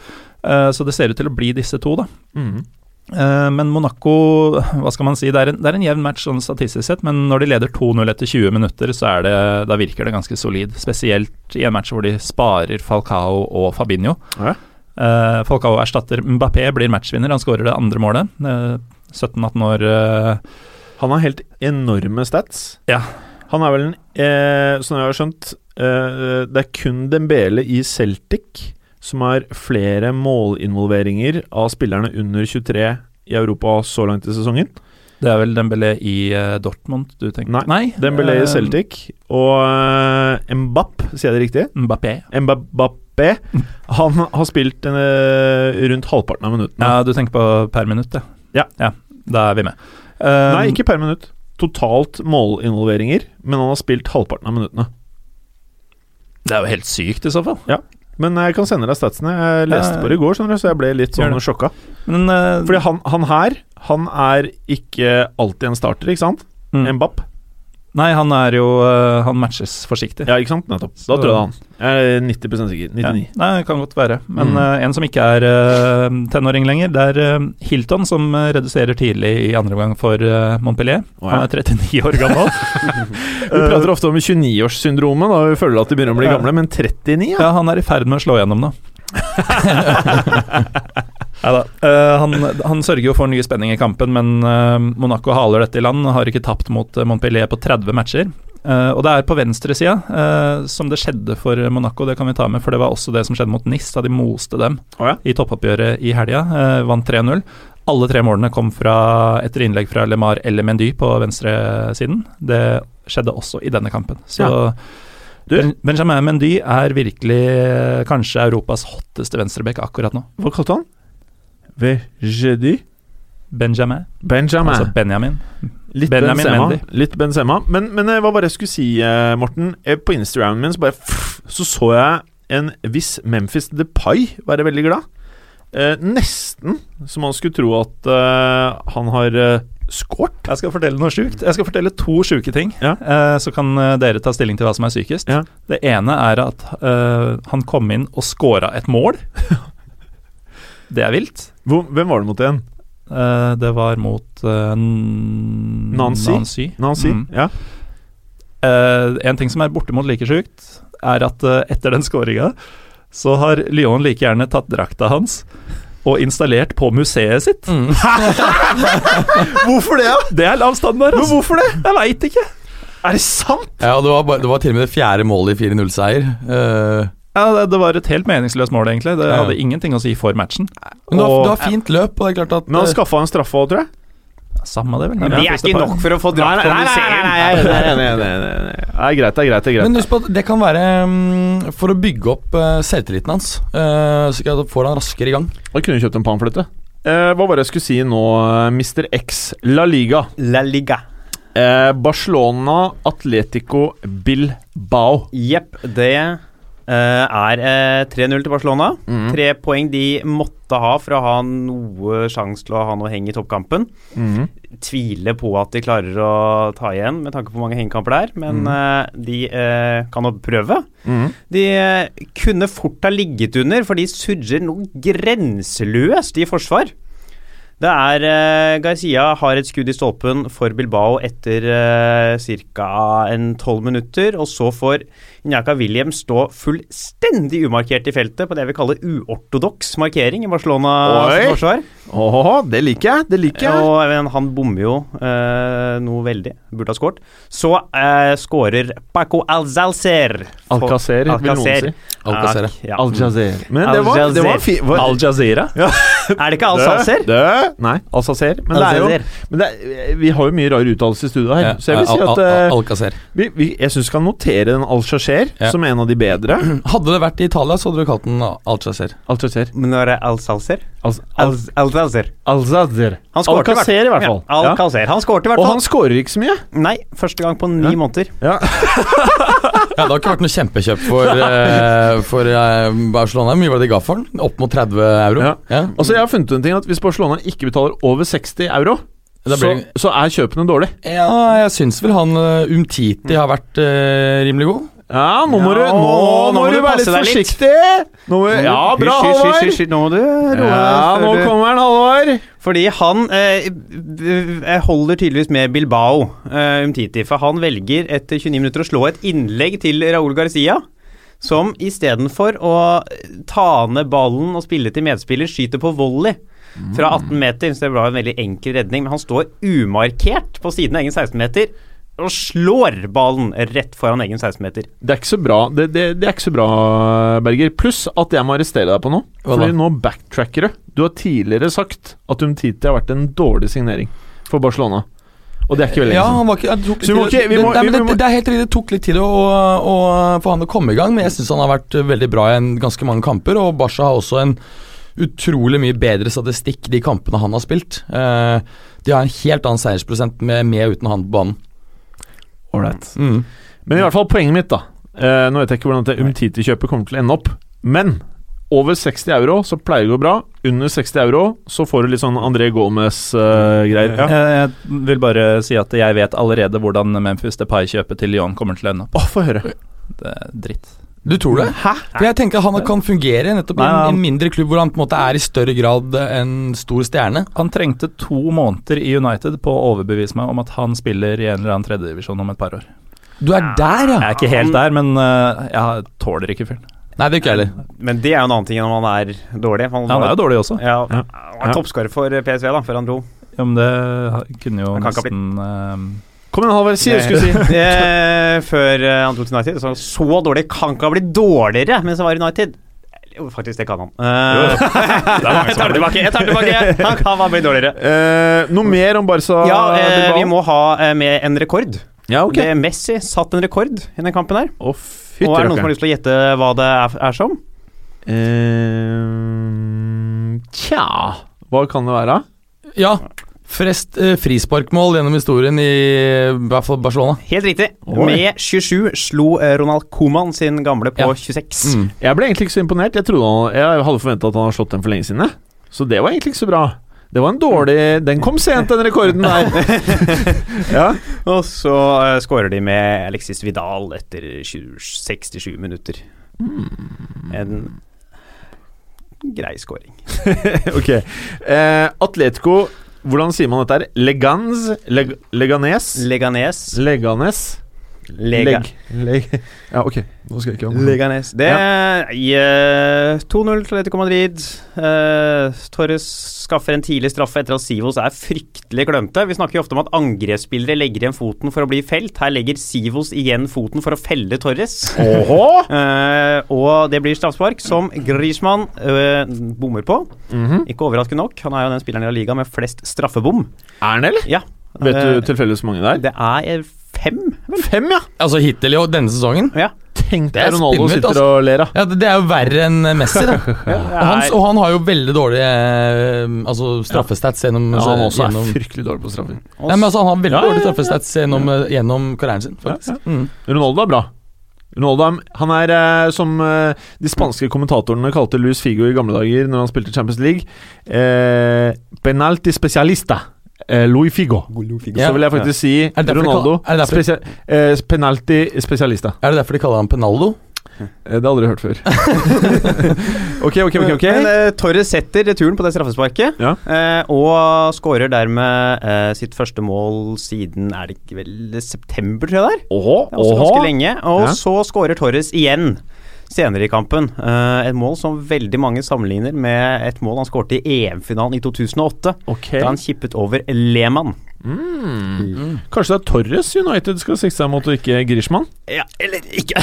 B: Eh, så det ser ut til å bli disse to, da.
C: Mhm.
B: Eh, Men Monaco, hva skal man si, det er en, det er en jevn match sånn statistisk sett, men når de leder 2-0 etter 20 minutter, så er det, da virker det ganske solid. Spesielt i en match hvor de sparer Falcao og Fabinho.
C: Ja.
B: Eh, Falcao erstatter Mbappé, blir matchvinner, han skårer det andre målet. Eh, 17-18 år eh,
C: Han har helt enorme stats.
B: Ja.
C: Han er vel en eh, Sånn jeg har skjønt, eh, det er kun Dembele i Celtic som har flere målinvolveringer av spillerne under 23 i Europa så langt i sesongen.
B: Det er vel Dembélé i eh, Dortmund du tenker
C: Nei, Dembele
B: eh,
C: i Celtic og eh, Mbapp, sier jeg det riktig?
B: Mbappé.
C: Mbappé Han har spilt eh, rundt halvparten av minuttene.
B: Ja, du tenker på per minutt, ja.
C: Ja.
B: Da er vi med. Eh, um,
C: Nei, ikke per minutt. Totalt målinvolveringer, men han har spilt halvparten av minuttene.
B: Det er jo helt sykt, i så fall.
C: Men eh, jeg kan sende deg statsene. Jeg leste
B: Ja, ja.
C: på det i går, skjønner du, så jeg ble litt
B: Gjør
C: sånn
B: det.
C: sjokka.
B: Men eh,
C: Fordi han, han her, han er ikke alltid en starter, ikke sant?
B: Mm.
C: En bapp.
B: Nei, han er jo eh, Han matches forsiktig.
C: Ja, ikke sant? Nettopp. Da
B: Så-
C: tror jeg han. Jeg er 90 sikker. 99.
B: Ja. Nei, det kan godt være. Men
C: Mm.
B: eh, en som ikke er eh, tenåring lenger, det er eh, Hilton som eh, reduserer tidlig i andre omgang for eh, Montpellier.
C: Å, ja.
B: Han er 39 år gammel.
C: Vi prater ofte om 29-årssyndromet, da vi føler at de begynner å bli
B: Ja.
C: gamle, men 39, ja.
B: ja, han er i ferd med å slå gjennom nå. Nei da. Eh, han, han sørger jo for ny spenning i kampen, men eh, Monaco haler dette i land. Har ikke tapt mot eh, Montpellier på 30 matcher. Eh, og det er på venstresida uh, som det skjedde for Monaco, det kan vi ta med. For det var også det som skjedde mot Nis, da de moste dem
C: Å ja.
B: i toppoppgjøret i helga. eh, vant 3-0. Alle tre målene kom fra etter innlegg fra LeMar eller Mendy på venstresiden. Det skjedde også i denne kampen. Så
C: Du-
B: Ben- Benjamin Mendy er virkelig eh, kanskje Europas hotteste venstrebekk akkurat nå.
C: Hva kalte han? Vejedi
B: Benjamin,
C: Benjamin.
B: altså Benjamin.
C: Litt
B: Benjamin
C: Benzema.
B: Mendy.
C: Litt Benzema. Men, men eh, hva bare jeg skulle si, eh, Morten eh, På Instagramen min så bare pff, Så så jeg en viss Memphis Depay være veldig glad. Eh, nesten så man skulle tro at eh, han har eh, scoret.
B: Jeg skal fortelle noe sjukt. Jeg skal fortelle to sjuke ting,
C: Ja.
B: eh, så kan eh, dere ta stilling til hva som er sykest.
C: Ja.
B: Det ene er at eh, han kom inn og scora et mål. det er vilt.
C: Hvor, hvem var det mot igjen?
B: Eh, det var mot eh, N-
C: Nancy?
B: Nancy.
C: Nancy?
B: Mm.
C: Ja.
B: Eh, en ting som er bortimot like sjukt, er at eh, etter den skåringa, så har Lyon like gjerne tatt drakta hans og installert på museet sitt.
C: Mm. Hvorfor det, da?
B: Det er lav standard,
C: Men
B: altså!
C: hvorfor det?
B: Jeg veit ikke!
C: Er det sant?
D: Ja, og det var, bare, det var til og med det fjerde målet i 4-0-seier. Eh,
B: Ja, det, det var et helt meningsløst mål, egentlig. Det
D: Ja.
B: hadde ingenting å si for matchen.
D: men det var,
B: Og-
D: det var fint løp, og det er klart at
C: Men han
D: eh,
C: skaffa en straffe òg, tror jeg.
B: Samme det, vel.
E: Men det er ikke nok for å få dratt på museet.
C: nei, nei, nei, nei, nei, Eh, nei. Det er greit, det er greit. Det er greit.
D: Men husk på at det kan være mm, for å bygge opp eh, selvtilliten hans. eh, så ikke at får han raskere i gang.
C: Da kunne du kjøpt en panfløyte. Eh, hva var det jeg skulle si nå, eh, Mr. X La Liga?
E: La liga.
C: Eh, Barcelona, Atletico, Bilbao.
E: Jepp, det eh, er eh, 3-0 til Barcelona.
C: Mhm.
E: Tre poeng de måtte ha for å ha noe sjanse til å ha noe heng i toppkampen.
C: Mhm.
E: Tviler på at de klarer å ta igjen med tanke på hvor mange hengekamper det er, men eh, de eh, kan jo prøve.
C: Mhm.
E: De eh, kunne fort ha ligget under, for de surrer noe grenseløst i forsvar. Det er eh, Garcia har et skudd i stolpen for Bilbao etter eh, ca. tolv minutter. Og så får Njaka Williams stå fullstendig umarkert i feltet på det vi kaller uortodoks markering i Barcelonas
C: Oi.
E: forsvar.
C: Åh, det liker jeg! Det liker jeg.
E: Og men, han bommer jo eh, noe veldig. Burde ha skåret. Så eh, skårer Paco Alzalcer. for-
C: Alcacer, vil noen si.
E: Alcacer.
C: Ah,
D: Alcacer,
E: Ak- ja.
C: Al-Jazeer. Men det var, det var fi... var-
B: Al Jazeera?
E: Er det ikke Alsacer?
C: Dø? Nei, Alsacer. Men, det er jo, men det er, vi har jo mye rar uttalelse i studio her, så jeg vil si at eh,
D: Alcacer.
C: vi, vi, Jeg syns vi skal notere den Al-Jazeer
D: Ja.
C: som en av de bedre.
D: Hadde det vært i Italia, så hadde du kalt den Alcacer.
C: Al-Jazeer.
E: Men nå er det Alsacer?
C: Al
E: Alsacer.
C: Al-Jazeer.
E: Han skårte
C: Alcacer i hvert fall.
E: Ja, Alcacer. Han skårte i hvert
C: Og
E: fall.
C: han skårer ikke så mye.
E: Nei, første gang på ni
C: Ja.
E: måneder.
C: Ja.
D: Ja, Det har ikke vært noe kjempekjøp for, eh, for eh, Barcelona. Hvor mye var det de ga for den? Opp mot 30 euro?
C: Ja.
D: Ja.
C: Og så Altså, jeg har funnet ut en ting at Hvis Barcelona ikke betaler over 60 euro,
D: Da
C: så,
D: blir det-
C: så er kjøpene dårlig.
D: ja, jeg syns vel han eh, Umtiti har vært eh, rimelig god.
C: Ja, nå må
E: Ja,
C: du, nå,
E: nå
C: må
E: må
C: du
E: du
C: være
E: passe
C: litt
E: deg litt.
C: forsiktig! Nå må, ja, bra,
E: Mm. Hysj, hysj,
C: Halvard!
E: hysj, hysj. Nå må du roe
C: Ja,
E: deg
C: nå
E: før du-
C: kommer han, Halvard.
E: Fordi han eh, b- b- holder tydeligvis med Bilbao, eh, Umtiti. For han velger etter 29 minutter å slå et innlegg til Raúl Garcia. Som istedenfor å ta ned ballen og spille til medspiller, skyter på volley fra 18 meter. Så det var en veldig enkel redning, men han står umarkert på siden av egen 16-meter og slår ballen rett foran egen 16-meter.
C: Det er ikke så bra, det, det, det er ikke så bra Berger. Pluss at jeg må arrestere deg på noe.
D: Hva
C: Fordi
D: da?
C: nå backtracker du. Du har tidligere sagt at Umtiti har vært en dårlig signering for Barcelona. Og det er ikke veldig
D: Ja,
C: lenge siden.
D: han var ikke, det, tok
C: Så vi må
D: litt tid-
C: ikke- vi må-
D: det, nei, men
C: vi må-
D: det, det er helt riktig, det tok litt tid å, å, å få han til å komme i gang, men jeg syns han har vært eh, veldig bra i en, ganske mange kamper. Og Barca har også en utrolig mye bedre statistikk de kampene han har spilt. Eh, de har en helt annen seiersprosent med, med og uten han på banen.
C: Alright. Men i hvert fall poenget mitt, da. Eh, nå vet jeg ikke hvordan det Umtiti-kjøpet kommer til å ende opp. Men over 60 euro så pleier det å gå bra. Under 60 euro så får du litt sånn André Gomez-greier.
B: Jeg, jeg vil bare si at jeg vet allerede hvordan Memphis Depay-kjøpet til Lyon kommer til å ende opp.
C: Å, få høre.
B: Det er dritt.
D: Du tror det?
C: Hæ?
D: For jeg tenker han kan fungere nettopp i
B: Nei,
D: en,
B: han-
D: en mindre klubb hvor han på en måte er i større grad eh, en stor stjerne.
B: Han trengte to måneder i United på å overbevise meg om at han spiller i en eller annen tredjedivisjon om et par år.
D: Du er der,
B: Jeg
D: ja!
B: er ikke helt der, men eh, jeg tåler ikke fyren.
D: Nei, det er ikke jeg heller.
E: Men det er jo en annen ting enn om han er dårlig. Han,
B: Han er jo dårlig også,
E: ja,
C: Ja.
E: han var toppskårer for PSV da, før han dro.
B: ja, men det kunne jo
E: Han kan ikke bli-
B: nesten
C: Kom igjen, Halvard. Si det du skulle si.
E: Eh, Før eh, han tok til United. Så, så dårlig kan ikke ha blitt dårligere mens han var i United. Jo, faktisk, det kan han. Eh, jeg tar det tilbake! jeg tar det tilbake Han kan ha blitt dårligere.
C: Eh, noe mer om Barca?
E: Ja, eh,
C: Bilbao?
E: vi må ha eh, med en rekord.
C: Ja, ok.
E: Det, Messi satt en rekord i den kampen her.
C: Å, fytti
E: Og er det noen som har lyst til å gjette hva det er, er som?
C: Eh, Tja Hva kan det være?
D: Ja, flest eh, frisparkmål gjennom historien i, i hvert fall Barcelona.
E: Helt riktig.
C: Oi.
E: Med 27 slo eh, Ronald Coman sin gamle på
D: Ja.
E: 26.
C: Jeg ble egentlig ikke så imponert. Jeg, trodde han, jeg hadde forventa at han hadde slått den for lenge siden. jeg. Så det var egentlig ikke så bra. Det var en dårlig Den kom sent, den rekorden der. ja.
E: Og så uh, skårer de med Alexis Vidal etter 20, 67 minutter.
C: Hmm,
E: En grei skåring.
C: Ok. Eh, Atletico Hvordan sier man dette her? Legans? Leg Leganes?
E: Leganes.
C: Leganes?
E: Lega.
C: Leg. Leg. Ja, ok. Nå skal jeg ikke ha noe.
E: Leganes. Det er eh, 2-0 til Atletico Madrid. Eh, Torres skaffer en tidlig straffe etter at Sivos er fryktelig klønete. Vi snakker jo ofte om at angrepsspillere legger igjen foten for å bli felt. Her legger Sivos igjen foten for å felle Torres.
C: Åhå!
E: Eh, og det blir straffespark, som Griezmann eh, bommer på.
C: Mhm.
E: Ikke overraskende nok. Han er jo den spilleren i La Liga med flest straffebom.
C: Er den, eller?
E: Ja.
C: Vet
E: Eh,
C: du tilfeldigvis hvor mange det er?
E: det er eh, fem, vel?
C: Fem, ja!
D: Altså hittil i år- denne sesongen?
E: Ja.
C: tenk
D: Det er
C: deg Ronaldo
D: spinnvilt,
C: sitter og ler av.
D: altså. Ja, det, det er jo verre enn eh, Messi, da. og, han, og han har jo veldig dårlige eh, altså, straffestats gjennom,
C: Ja, han også
D: gjennom
C: er fryktelig dårlig på straffer.
D: Nei, men altså, Han har veldig
C: Ja, ja,
D: dårlige
C: ja, ja.
D: straffestats gjennom, eh, gjennom karrieren sin, faktisk. Mm.
C: Ronaldo er bra. Ronaldo er, han er eh, som eh, de spanske kommentatorene kalte Luis Figo i gamle dager når han spilte Champions League. Eh, penalti specialista. Eh, Louis Figo.
D: Ja.
C: Så vil jeg faktisk si
D: Er det derfor de
C: Ronaldo
D: kaller- er det derfor-
C: specia- eh, penalti specialista.
D: Er det derfor de kaller han Penaldo?
C: Eh, det har jeg aldri hørt før. ok, ok, ok. ok
E: Men eh, Torres setter returen på det straffesparket,
C: Ja.
E: eh, og skårer dermed eh, sitt første mål siden Er det ikke vel september, tror jeg det er?
C: Åhå,
E: Det er også
C: åhå.
E: ganske lenge. Og
C: Ja.
E: så skårer Torres igjen senere i kampen. Eh, et mål som veldig mange sammenligner med et mål han skårte i EM-finalen i 2008,
C: Ok.
E: da han kippet over Lehmann.
C: Kanskje det er Torres United skal sikte seg mot, og ikke Grishman?
E: Ja, eller ikke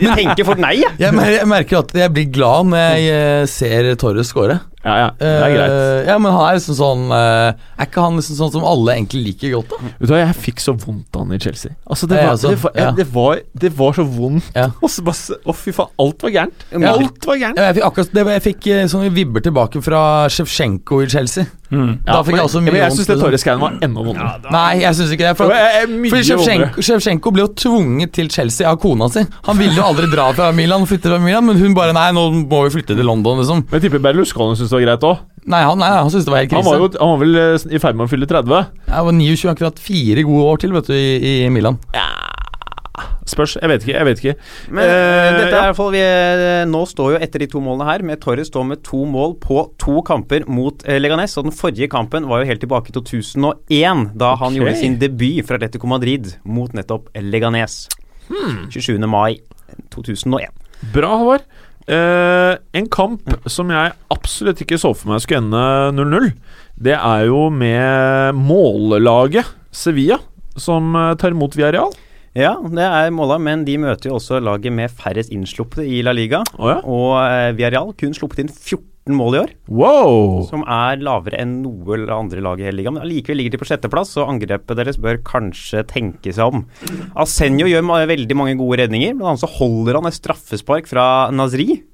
E: Jeg tenker fort nei, jeg.
D: Jeg, mer, jeg merker at jeg blir glad når jeg eh, ser Torres score.
C: Ja, ja, det er greit.
D: Eh, ja, men han er liksom sånn eh, Er ikke han liksom sånn som alle egentlig liker godt, da?
C: Vet du hva, Jeg fikk så vondt av han i Chelsea. Altså, Det
D: Ja,
C: var,
D: altså,
C: det var,
D: ja.
C: det var, det var så vondt.
D: Ja.
C: Og så bare se- Å, fy faen. Alt var gærent.
E: Ja.
C: Alt var gærent.
D: Ja, jeg fikk akkurat det, var- Jeg fikk eh, sånne vibber tilbake fra Sjevtsjenko i Chelsea.
B: eh,
D: Da fikk jeg også
C: men,
D: mye
C: men jeg
D: vondt,
C: syns det
D: liksom.
C: Torres-greien var enda vondere.
D: Nei, jeg syns ikke det.
C: Det
D: For,
C: var, eh, mye
D: for
C: vondere.
D: Shevchenko, Shevchenko ble jo tvunget til Chelsea av kona si. Han ville jo aldri dra fra Milan, og flytte fra Milan men hun bare Nei, nå må vi flytte til London, liksom.
C: Men jeg tipper Berlusconi syntes det var greit òg.
D: Nei, han, nei, han syntes det var helt
C: Han
D: krise.
C: var jo han var vel eh, i ferd med å fylle 30.
D: Jeg var 29, han kunne hatt fire gode år til vet du, i, i Milan.
C: Spørs. Jeg vet ikke. jeg vet ikke
E: Men
C: Eh,
E: dette er
C: ja.
E: i hvert fall vi, eh, Nå står jo etter de to målene her med Torres står med to mål på to kamper mot eh, Leganes. Og den forrige kampen var jo helt tilbake i 2001, da han
C: Ok.
E: gjorde sin debut fra Atletico Madrid mot nettopp Leganes.
C: Hmm.
E: 27. mai 2001.
C: Bra, Håvard. Eh, en kamp som jeg absolutt ikke så for meg skulle ende 0-0, det er jo med mållaget Sevilla, som eh, tar imot Villarreal.
E: Ja, det er måla, men de møter jo også laget med færrest innslupne i La Liga.
C: Å ja.
E: Og eh, Villarreal kun sluppet inn 14 mål i år,
C: Wow!
E: som er lavere enn noe eller andre lag i hele ligaen. Men allikevel ligger de på sjetteplass, så angrepet deres bør kanskje tenke seg om. Asenjo gjør ma- veldig mange gode redninger, blant annet så holder han et straffespark fra Nazri.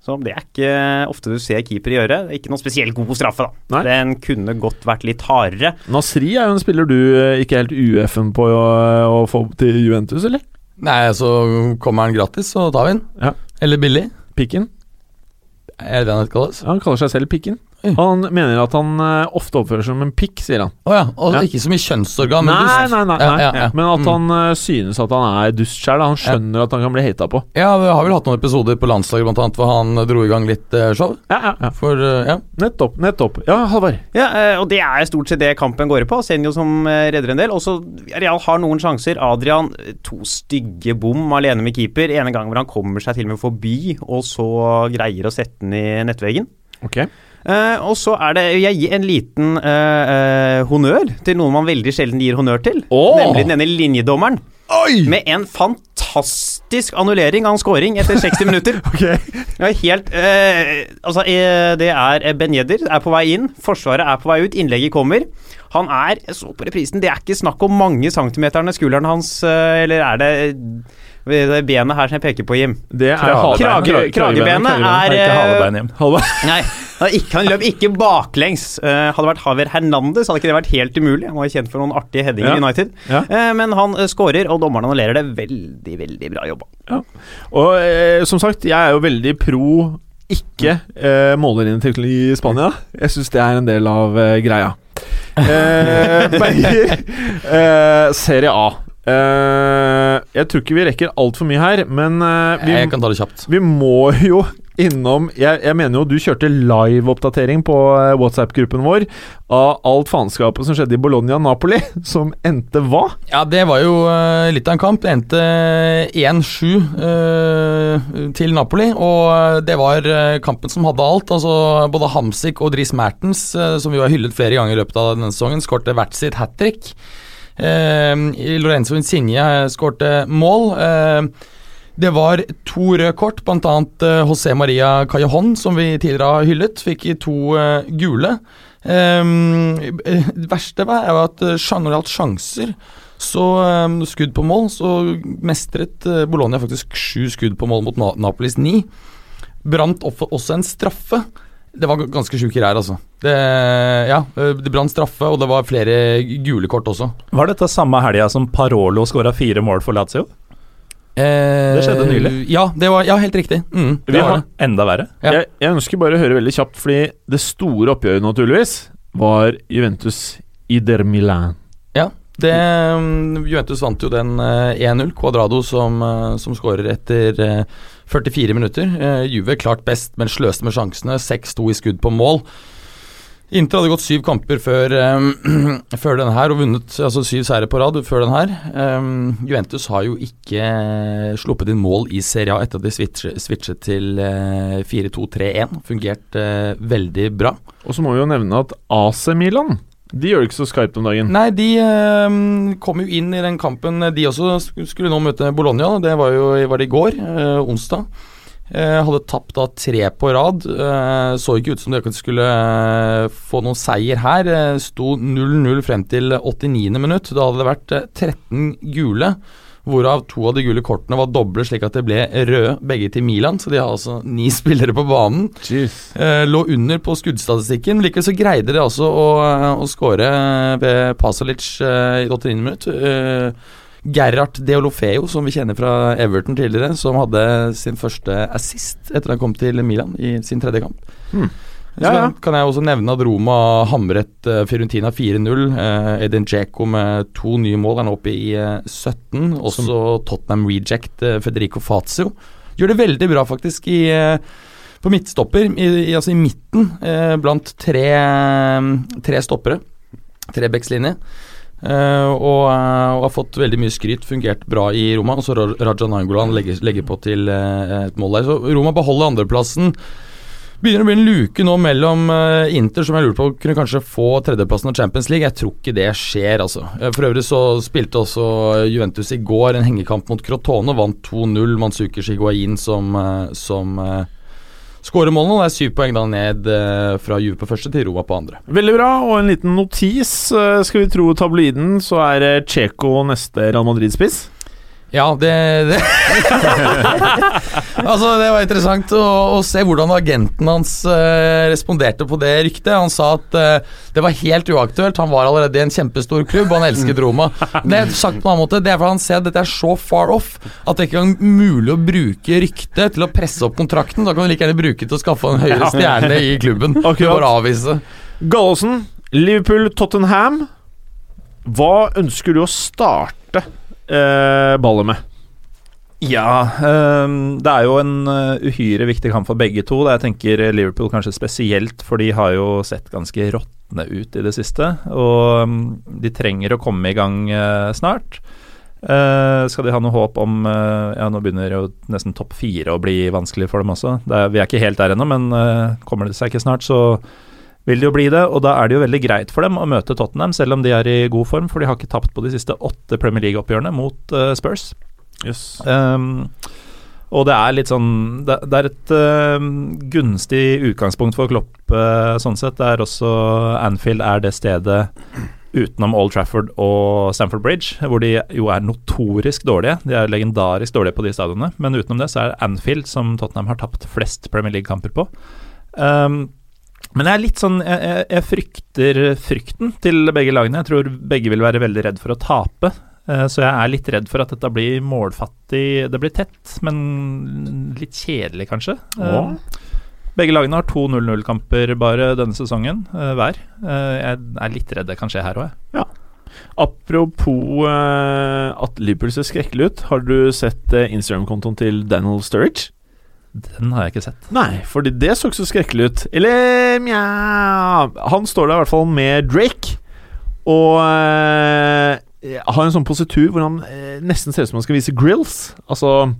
E: Så det er ikke ofte du ser keeper gjøre. Det er Ikke noen spesielt god straffe, da.
C: Nei.
E: Den kunne godt vært litt hardere.
C: Nasri er jo en spiller du eh, ikke er helt UF-en på å, å få til Juventus, eller?
D: Nei, så kommer han gratis, så tar vi den.
C: Ja.
D: Eller billig.
C: Pikken.
D: Er det det han heter, kalles?
C: Han kaller seg selv Pikken.
D: Oi.
C: Han mener at han eh, ofte oppfører seg som en pikk, sier han.
D: Å ja. Og
C: Ja.
D: ikke så mye kjønnsorgan. men
C: nei,
D: dust.
C: nei, nei,
D: Ja,
C: nei.
D: ja, ja.
C: Men at
D: Mm.
C: han eh, synes at han er dust sjæl. Han skjønner at han kan bli hata på.
D: Ja, vi har vel hatt noen episoder på landslaget blant annet, hvor han dro i gang litt eh, show.
C: Ja, ja, ja.
D: For eh, ja.
C: Nettopp. nettopp Ja, Halvard.
E: Ja, eh, og det er stort sett det kampen går på. Senjo som eh, redder en del. Også Real har noen sjanser. Adrian, eh, to stygge bom alene med keeper. Ene gang hvor han kommer seg til og med forbi, og så greier å sette den i nettveggen.
C: Ok.
E: Eh, og så er det Jeg gir en liten eh, eh, honnør til noen man veldig sjelden gir honnør til.
C: Åh!
E: Nemlig denne linjedommeren.
C: Oi!
E: Med en fantastisk annullering av en scoring etter 60 minutter. Det var helt eh, Altså, eh, det er eh, Ben Yedder er på vei inn, Forsvaret er på vei ut, innlegget kommer. Han er Jeg så på reprisen, det er ikke snakk om mange centimeterne skulderen hans eh, Eller er det eh, det benet her som jeg peker på, Jim?
C: Det er
B: Krage-
C: halebeinet.
E: krage- kragebenet er,
B: Det er ikke
E: eh,
B: halebein hjem.
C: Halvard.
E: Nei, han er ikke, han løp ikke baklengs. Eh, hadde det vært Haver Hernandez, hadde ikke det vært helt umulig. Han var jo kjent for noen artige headinger
C: Ja.
E: i United.
C: Ja.
E: Eh, men han uh, skårer, og dommeren annullerer det. Veldig, veldig bra jobba.
C: Og eh, som sagt, jeg er jo veldig pro ikke eh, målerinntekt i Spania. Jeg syns det er en del av eh, greia. Eh, Berger, eh, Serie A. Eh, jeg tror ikke vi rekker altfor mye her, men eh, vi,
D: Jeg kan ta det kjapt.
C: vi må jo innom Jeg, jeg mener jo du kjørte live-oppdatering på eh, WhatsApp-gruppen vår av alt faenskapet som skjedde i Bologna-Napoli, som endte hva?
D: Ja, det var jo eh, litt av en kamp. Det endte 1-7 eh, til Napoli, og eh, det var eh, kampen som hadde alt. Altså Både Hamsik og Dries Mertens, eh, som vi har hyllet flere ganger i løpet av denne sesongen, skårte hvert sitt hat trick. Eh, Lorenzo Insigne eh, skårte mål. Eh, det var to røde kort, bl.a. Uh, José Maria Callejon, som vi tidligere har hyllet, fikk to eh, gule. Ehm, eh, det verste var er jo at eh, sjan- når det gjaldt sjanser, Så eh, skudd på mål, så mestret eh, Bologna faktisk sju skudd på mål mot Na Napolis ni. Brant opp for også en straffe. Det var g- ganske sjuke greier, altså. Det, ja, eh, det brant straffe, og det var flere gule kort også.
B: Var dette samme helga som Parolo skåra fire mål for Lazio? Det skjedde nylig.
D: Eh, Ja, det var, ja helt riktig. Mm, det
B: Det
D: var
B: var
D: det.
B: enda verre.
D: Ja.
C: Jeg, jeg ønsker bare å høre veldig kjapt, fordi det store oppgjøret naturligvis var Juventus Ider Milan.
D: det mm, Juventus vant jo den eh, 1-0. Cuadrado som, eh, som skårer etter eh, 44 minutter. Eh, Juve klart best, men sløste med sjansene. 6-2 i skudd på mål. Inter hadde gått syv kamper før, eh, før denne her, og vunnet altså syv seire på rad før den her. Eh, Juventus har jo ikke eh, sluppet inn mål i Serie A etter at de switchet, switchet til eh, 4-2-3-1. Fungert eh, veldig bra.
C: Og så må vi jo nevne at AC Milan De gjør det ikke så skarpt om dagen.
D: Nei, de eh, kom jo inn i den kampen. De også sk- skulle nå møte Bologna. Det var jo var det i går, eh, onsdag. Eh, hadde tapt da tre på rad. Eh, så ikke ut som de akkurat skulle eh, få noen seier her. Eh, sto 0-0 frem til 89. minutt. Da hadde det vært eh, 13 gule, hvorav to av de gule kortene var doble, slik at det ble røde begge til Milan. Så de har altså ni spillere på banen. Eh, lå under på skuddstatistikken. Likevel så greide de altså å, å skåre ved Pasalic eh, i 89. minutt. Eh, Gerhard Deolofeo, som vi kjenner fra Everton tidligere, som hadde sin første assist etter han kom til Milan i sin tredje kamp.
C: Hmm.
D: Så
C: Ja, ja.
D: kan- kan jeg også nevne at Roma hamret eh, Fiorentina 4-0. Eh, Edin Dzeko med to nye mål, han er oppe i eh, 17. Også Tottenham reject eh, Federico Fazio. Gjør det veldig bra, faktisk, i eh, på midtstopper, i, i, altså i midten, eh, blant tre, tre stoppere. Trebeckslinje. Eh, og, eh, og har fått veldig mye skryt, fungert bra i Roma. Og så Ra- Raja Nangolan legger, legger på til eh, et mål der. Så Roma beholder andreplassen. Begynner å bli en luke nå mellom eh, Inter, som jeg lurer på kunne kanskje få tredjeplassen av Champions League. Jeg tror ikke det skjer, altså. Eh, For øvrig så spilte også Juventus i går en hengekamp mot Crotone, vant 2-0. Manzuker Higuain som, eh, som eh, skårer målene. og Det er syv poeng da ned eh, fra Juve på første til Roma på andre.
C: Veldig bra, og en liten notis. Eh, Skal vi tro tabloiden, så er eh, Checo neste Real Madrid-spiss.
D: Ja, det, det. Altså, det var interessant å, å se hvordan agenten hans eh, responderte på det ryktet. Han sa at eh, det var helt uaktuelt, han var allerede i en kjempestor klubb, han elsket Roma. Det er sagt på en annen måte, det er fordi han ser at dette er så far off at det ikke engang er mulig å bruke ryktet til å presse opp kontrakten. Da kan du like gjerne bruke det til å skaffe en høyere stjerne i klubben. Du
C: Akkurat.
D: bare avvise.
C: Gallosen, Liverpool-Tottenham. Hva ønsker du å starte eh, ballet med?
B: Ja, ehm, det er jo en eh, uhyre viktig kamp for begge to. da. Jeg tenker Liverpool kanskje spesielt, for de har jo sett ganske råtne ut i det siste. Og mm, de trenger å komme i gang eh, snart. Eh, skal de ha noe håp om eh, Ja, nå begynner jo nesten topp fire å bli vanskelig for dem også. Det er, vi er ikke helt der ennå, men eh, kommer det seg ikke snart, så vil det jo bli det. Og da er det jo veldig greit for dem å møte Tottenham, selv om de er i god form, for de har ikke tapt på de siste åtte Premier League-oppgjørene mot eh, Spurs. Um, og det er litt sånn Det, det er et um, gunstig utgangspunkt for Klopp, eh, sånn sett. Det er også Anfield er det stedet utenom Old Trafford og Stamford Bridge, hvor de jo er notorisk dårlige. De er legendarisk dårlige på de stadionene, men utenom det så er det Anfield, som Tottenham har tapt flest Premier League-kamper på. Um, men jeg er litt sånn jeg, jeg, jeg frykter frykten til begge lagene. Jeg tror begge vil være veldig redd for å tape. Eh, Så jeg er litt redd for at dette blir målfattig. Det blir tett, men litt kjedelig, kanskje.
C: Ja.
B: Eh, Begge lagene har to 0-0-kamper bare denne sesongen, eh, hver. Eh, Jeg er litt redd det kan skje her òg, jeg.
C: Apropos eh, at Liverpool ser skrekkelig ut, har du sett eh, Instagram-kontoen til Daniel Sturridge?
B: Den har jeg ikke sett.
C: Nei, fordi det så ikke så skrekkelig ut. Eller mja Han står der i hvert fall med Drake, og eh, har en sånn positur hvor han eh, nesten ser ut som han skal vise grills. Altså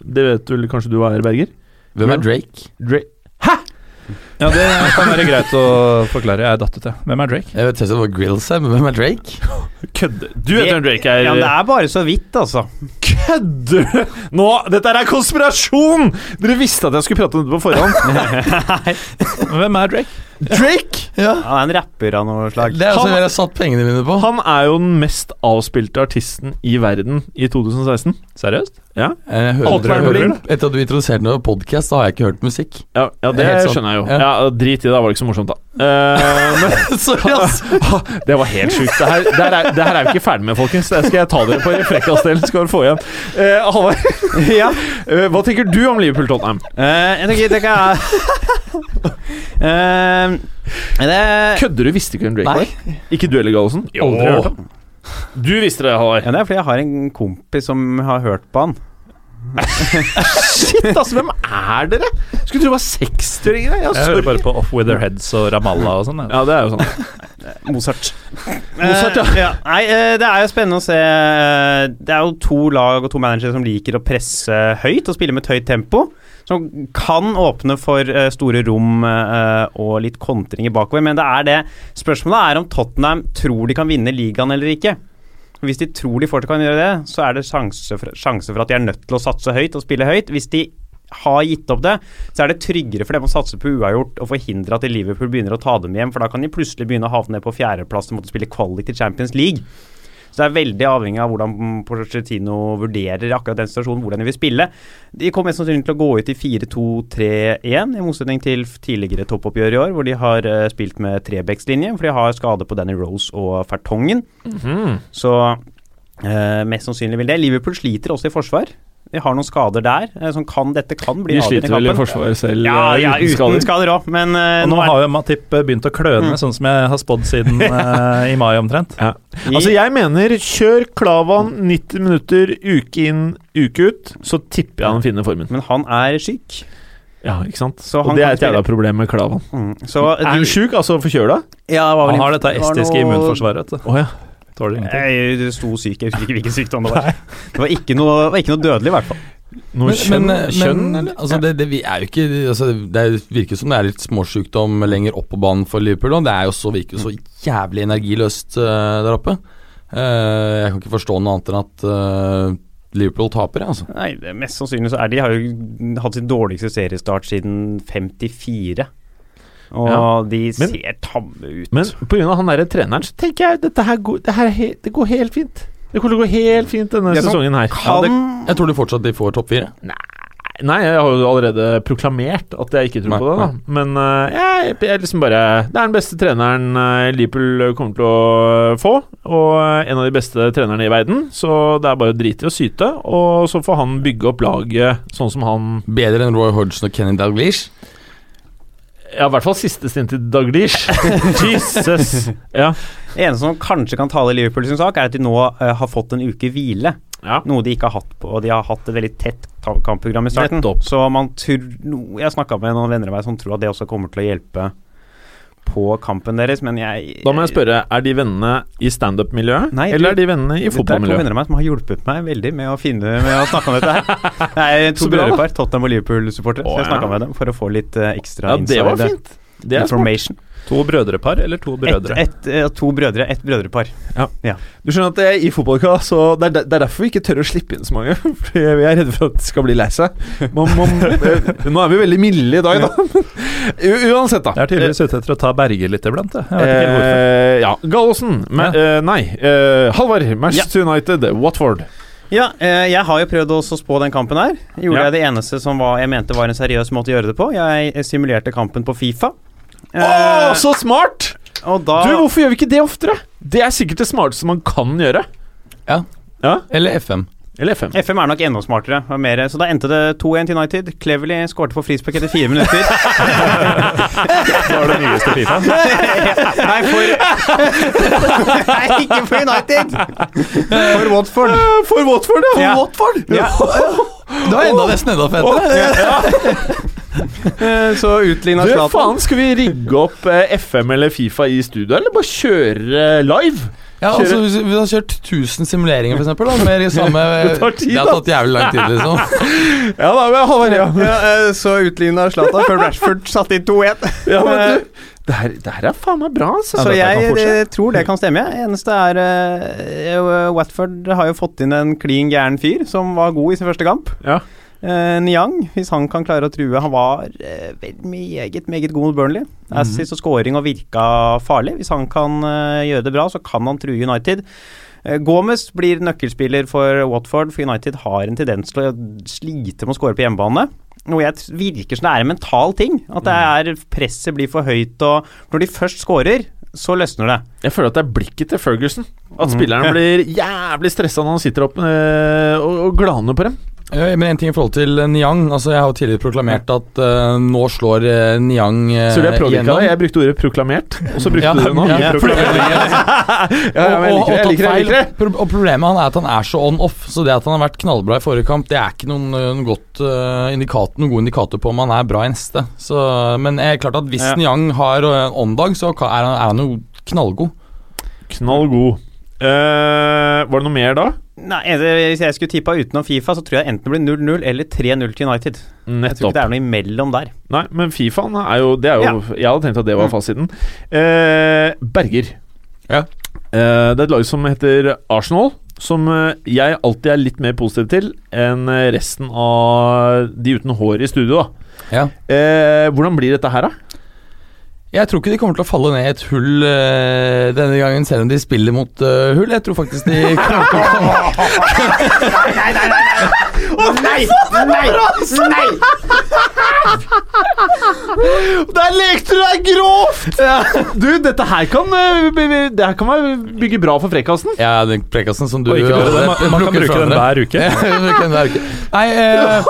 C: Det vet vel kanskje du er, Berger?
D: Hvem er Drake?
C: Drake
B: Ja, Det kan være greit å forklare. Jeg er datt ut, jeg. Hvem er Drake?
D: Jeg vet ikke om det var Grills her, men hvem er Drake?
C: Kødder Du vet
E: Det-
C: hvem Drake er?
E: Ja, men det er bare så vidt, altså.
C: Kødder du? Nå, dette er konspirasjon! Dere visste at jeg skulle prate om dette på forhånd.
B: Hvem er Drake?
C: Drake
D: Ja.
E: Han er en rapper av noe slag.
D: Det er også
C: Han-
D: det jeg har satt pengene mine på.
C: Han er jo den mest avspilte artisten i verden i 2016.
B: Seriøst?
D: Eh, Jeg
C: Alt
D: hører,
C: er
D: hører,
C: mulig.
D: etter at du introduserte meg på podkast, har jeg ikke hørt musikk.
C: Ja, ja det
D: Helt sant.
C: skjønner jeg jo. Ja.
D: Ja.
C: Drit i det, da var det ikke så morsomt, da. Eh, men,
D: Sorry, ass.
C: det var helt sjukt. Det her, det, her er, det her er vi ikke ferdig med, folkens. Det skal jeg ta dere på i frekkasdelen, skal dere få igjen. Eh, Halvard,
E: ja.
C: eh, hva tenker du om Liverpool Tottenham?
E: Eh, jeg tenker det kan jeg det,
C: Kødder du? Visste ikke hvem Drake
D: Nei.
C: var? Ikke du heller, Gallosen?
B: Jo.
C: Aldri hørt om. Du visste det, Halvard.
E: ja, det er fordi jeg har en kompis som har hørt på han.
C: Shit, altså, hvem er dere? Skulle tro det var 60-åringer. Ja,
B: Jeg hører
C: sorry.
B: bare på Off With Their Heads og Ramallah og sånn. jeg.
C: ja, det er jo sånn.
E: Mozart.
C: Mozart, ja.
E: Eh, ja. Nei, eh, det er jo spennende å se. eh, Det er jo to lag og to managere som liker å presse høyt og spille med et høyt tempo. Som kan åpne for eh, store rom eh, og litt kontringer bakover. Men det er det spørsmålet er om Tottenham tror de kan vinne ligaen eller ikke. Hvis de tror de fortsatt kan gjøre det, så er det sjanse for, sjanse for at de er nødt til å satse høyt og spille høyt. Hvis de har gitt opp det, så er det tryggere for dem å satse på uavgjort og forhindre at Liverpool begynner å ta dem hjem, for da kan de plutselig begynne å havne ned på fjerdeplass og måtte spille quality til Champions League. Så det er veldig avhengig av hvordan Pochettino vurderer akkurat den situasjonen, hvordan de vil spille. De kommer mest sannsynlig til å gå ut i 4-2-3-1, i motsetning til f- tidligere toppoppgjør i år, hvor de har eh, spilt med trebeckslinje, for de har skade på Danny Rose og Fertongen. Så eh, mest sannsynlig vil det. Liverpool sliter også i forsvar. De har noen skader der, eh, som kan, dette kan bli
C: De sliter vel i
E: avgjørende i kampen.
C: forsvaret selv,
E: Ja,
C: eh,
E: ja, uten skader òg, men eh,
B: Og nå
E: nå er
B: har jo Matip eh, begynt å kløne, sånn som jeg har spådd siden eh, i mai omtrent.
E: de
C: Altså, jeg mener kjør Klavan 90 minutter uke inn, uke ut, så tipper jeg han finner formen.
E: Men han er syk.
C: Ja, ikke sant?
E: Så
C: Og
E: han
C: det
E: kan
C: er et
E: spille.
C: jævla problem med Klavan.
E: Mm. Så
C: Er han sjuk, altså forkjøla?
E: Ja, det var vel
B: Han har
E: inf-
B: dette
E: det var
B: estiske
E: noe-
B: immunforsvaret. vet du.
C: Å ja.
B: Tåler ingenting.
E: Nei, Det sto syk, jeg husker ikke hvilken sykdom det var. Det var ikke noe, det var ikke noe dødelig, i hvert fall.
C: Noe kjønn? kjønn
D: men,
C: eller?
D: altså, det, det vi er jo ikke altså, Det er- virker som det er litt småsjukdom lenger opp på banen for Liverpool. Og det er jo så, virker jo så jævlig energiløst eh, der oppe. Eh, jeg kan ikke forstå noe annet enn at eh, Liverpool taper, jeg, altså.
E: Nei, det er Mest sannsynlig så er de har jo hatt sin dårligste seriestart siden 54. Og
C: Ja.
E: de
C: Men-
E: ser tamme ut.
C: Men pga. han derre treneren, så tenker jeg dette her går, det her er he- det går helt fint. Det kommer til å gå helt fint denne
E: Det som
C: sesongen her.
E: kan
C: Ja,
D: Jeg tror de fortsatt de får topp fire.
C: det, nei, jeg har jo allerede proklamert at jeg ikke tror
D: Nei,
C: på det, da. Men eh, jeg, jeg liksom bare Det er den beste treneren eh, Liverpool kommer til å få, og eh, en av de beste trenerne i verden, så det er bare å drite i å syte, og så får han bygge opp laget sånn som han
D: Bedre enn Roy Hodgson og Kenny Dalglish.
C: Ja, i hvert fall siste stint til Daglish. Jesus! Ja.
E: Det eneste som kanskje kan tale i Liverpool sin sak, er at de nå eh, har fått en uke hvile.
C: Ja.
E: Noe de ikke har hatt på, og de har hatt et veldig tett ta- kampprogram i starten.
C: Nettopp.
E: Så man tror no, Jeg snakka med noen venner av meg som tror at det også kommer til å hjelpe på kampen deres, men jeg
C: Da må jeg spørre, er de vennene i standup-miljøet,
E: Nei, du-
C: eller er de vennene i
E: Det er to
C: fotballmiljøet?
E: venner av meg som har hjulpet meg veldig med å finne Med å snakke om dette her. Det er to
C: Så bra, da.
E: brødrepar, Tottenham og Liverpool-supportere,
C: Å,
E: så jeg snakka
C: ja.
E: med dem for å få litt eh, ekstra
C: Ja, det var
E: inside
C: fint. Det er smart.
E: information.
B: To brødrepar eller to
E: Et,
B: brødre?
E: et, eh, to brødre, ett brødrepar.
C: Du skjønner at eh, i fotballka, så det er, der- det er derfor vi ikke tør å slippe inn så mange. Fordi vi er redde for at de skal bli lei seg. Man, man, eh, nå er vi veldig milde i dag, da. U uansett, da.
B: Jeg er tydeligvis ute etter å ta Berger litt iblant. jeg. Jeg vet ikke helt hvorfor.
C: Eh, ja, Gallosen. Ma eh, nei, eh, Halvard. Manchester United, Watford.
E: Ja, eh, jeg har jo prøvd også å spå den kampen her. Gjorde
C: Ja.
E: jeg det eneste som var, jeg mente var en seriøs måte å gjøre det på. Jeg eh, simulerte kampen på Fifa.
C: Å,
E: Eh,
C: så smart!
E: og da
C: Du, Hvorfor gjør vi ikke det oftere? Det er sikkert det smarteste man kan gjøre.
D: Eller FM.
C: Eller FM.
E: FM er nok enda smartere. og Mer, så da endte det 2-1 til United. Cleverly skårte på frispark etter fire minutter.
B: Det var det nyeste Fifa.
E: Nei, for Nei, ikke for United! For Watford.
C: Eh, For Watford, ja.
E: Ja.
C: Watford.
E: Ja.
D: Det var enda nesten enda fetere.
E: Eh, Så utligna
C: Du,
E: Zlatan.
C: faen, skal vi rigge opp eh, FM eller Fifa i studio, eller bare kjøre eh, live?
D: Ja,
C: Kjører-
D: altså, hvis vi har kjørt 1000 simuleringer, for eksempel, da, med de samme
C: Det tar tid,
D: Det har
C: da.
D: tatt jævlig lang tid, liksom.
C: Ja da, men Halvard, ja.
E: Ja, eh, så utligna Zlatan før Rashford satte inn 2-1.
C: ja men du, det her, det her er faen meg bra, altså.
E: Så
B: dette
E: jeg
B: kan fortsette.
E: eh, tror det kan stemme. ja. Eneste er eh, eh, Watford har jo fått inn en klin gæren fyr som var god i sin første kamp.
C: Ja.
E: Eh, Niang, hvis han kan klare å true Han var eh, vel meget, meget god mot
B: Mhm.
E: Burnley. Assist og scoring og virka farlig. Hvis han kan eh, gjøre det bra, så kan han true United. Eh, Gomez blir nøkkelspiller for Watford, for United har en tendens til å slite med å score på hjemmebane. Noe jeg t- virker som det er en mental ting. At det er presset blir for høyt, og når de først scorer, så løsner det.
C: eh, Jeg føler at det er blikket til Ferguson. At
E: Mm.
C: spilleren blir jævlig stressa når han sitter opp eh, og, og glaner på dem.
D: Ja, men en ting i forhold til eh, Niang. Altså, jeg har jo tidligere proklamert at eh, nå slår eh, Niang uh,
C: Så jeg plugga det. Jeg brukte ordet 'proklamert', og så brukte
D: Ja,
C: du det nå.
D: ja.
C: Ja, men jeg liker det.
D: og, og,
C: Jeg liker det.
D: og tatt
C: Jeg liker det.
D: feil. Pro- Og problemet han er at han er så on off. Så det at han har vært knallbra i forrige kamp, det er ikke noen, eh, noen, godt, eh, indikator, noen god indikator på om han er bra i neste. Så, men eh, klart at hvis
E: Ja.
D: Niang har eh, en on-dag, så ka- er han, er han jo knallgod.
C: Knall god. Eh, var det noe mer da?
E: Nei, eh, det- Hvis jeg skulle tippa utenom Fifa, så tror jeg enten det blir 0-0 eller 3-0 til United. Jeg tror ikke
C: Nettopp.
E: det er noe imellom der.
C: Nei, men Fifaen er jo Det er jo Jeg hadde tenkt at det var
E: Mm.
C: fasiten. Eh, Berger.
D: Ja.
C: Eh, det er et lag som heter Arsenal. Som eh, jeg alltid er litt mer positiv til enn eh, resten av de uten hår i studio. da
D: Ja.
C: Eh, hvordan blir dette her, da?
D: Jeg tror ikke de kommer til å falle ned i et hull eh, denne gangen, selv om de spiller mot eh, hull. Jeg tror faktisk de kommer til å
E: nei, nei, nei!
C: Der lekte du deg grovt! Du, dette her kan eh, be- be- Det her kan være bygge bra for frekkasen.
D: Ja, den prekassen som du
B: Og ikke
D: hadde
B: bare det, man, man kan
D: plukket
B: bruke
D: fra
B: den
D: andre.
B: hver uke.
D: Ja, bruke den hver uke. Nei, eh,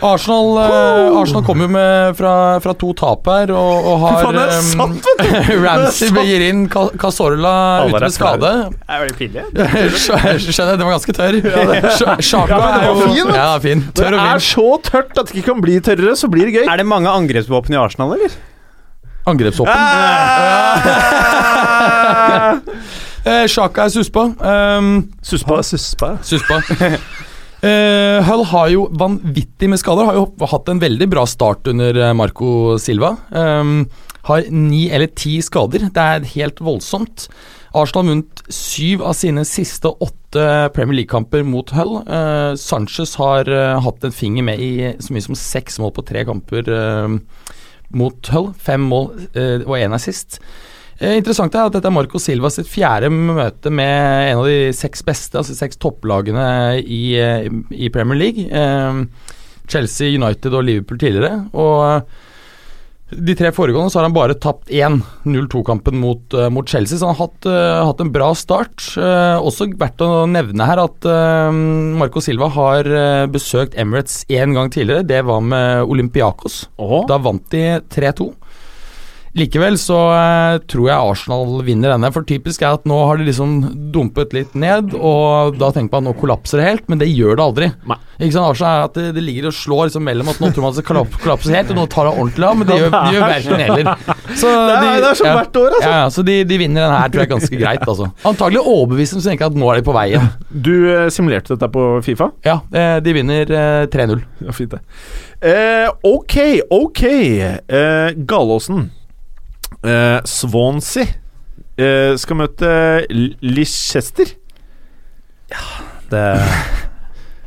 D: Arsenal, eh, Arsenal kom jo med fra, fra to tap her, og, og har
C: Faen, det er
D: eh,
C: sant, vet du!
D: Ramsey gir inn, Ca- Casorla
B: Alle
D: ute
B: er
D: med skade.
E: Det er veldig pinlig.
D: Skjønner, jeg, den var ganske tørr. Sj- Sjaka
C: Ja, men den
D: er
C: var
D: jo
C: fin, vet du.
D: Ja, fin.
C: Det
D: Tørr og
C: er
D: fin.
C: så tørt at det ikke kan bli tørrere, så blir det gøy.
E: Er det mange angrepsvåpen i Arsenal, eller?
D: Angrepshoppen.
C: Ah!
D: Eh, Sjaka er suspa. Um,
C: Suspa.
B: suspa.
D: Suspa. Eh, Hull har jo vanvittig med skader. Har jo hatt en veldig bra start under eh, Marco Silva. Ehm, har ni eller ti skader. Det er helt voldsomt. Arsenal har vunnet syv av sine siste åtte Premier League-kamper mot Hull. Eh, Sanchez har eh, hatt en finger med i så mye som seks mål på tre kamper eh, mot Hull. Fem mål eh, og én er sist. Eh, Interessant er at dette er Marco Silva sitt fjerde møte med en av de seks beste, altså seks topplagene i, eh, i Premier League. Eh, Chelsea, United og Liverpool tidligere. Og eh, de tre foregående så har han bare tapt én 0-2-kampen mot, eh, mot Chelsea, så han har hatt, eh, hatt en bra start. Eh, også verdt å nevne her at eh, Marco Silva har eh, besøkt Emirates én gang tidligere. Det var med Olympiakos. Da vant de 3-2. Likevel så eh, tror jeg Arsenal vinner denne, for typisk er at nå har de liksom dumpet litt ned, og da tenker man at nå kollapser det helt, men det gjør det aldri.
C: Nei.
D: Ikke sant, Arsenal er at det, det ligger og slår liksom mellom at nå tror man at det kollap- kollapser helt, og nå tar det ordentlig av, men det gjør, de gjør verken heller. Så
C: Det er, det er som
D: ja.
C: hvert år, altså.
D: Ja, ja, så de, de vinner denne her, tror jeg, ganske greit, altså. Antagelig overbevisende, så tenker jeg at nå er de på vei igjen.
C: Du eh, simulerte dette på Fifa?
D: Ja, eh, de vinner eh, 3-0.
C: Ja, fint det. Eh, ok, ok. Eh, Galåsen. Eh, Swansea eh, skal møte L- Leicester.
B: Det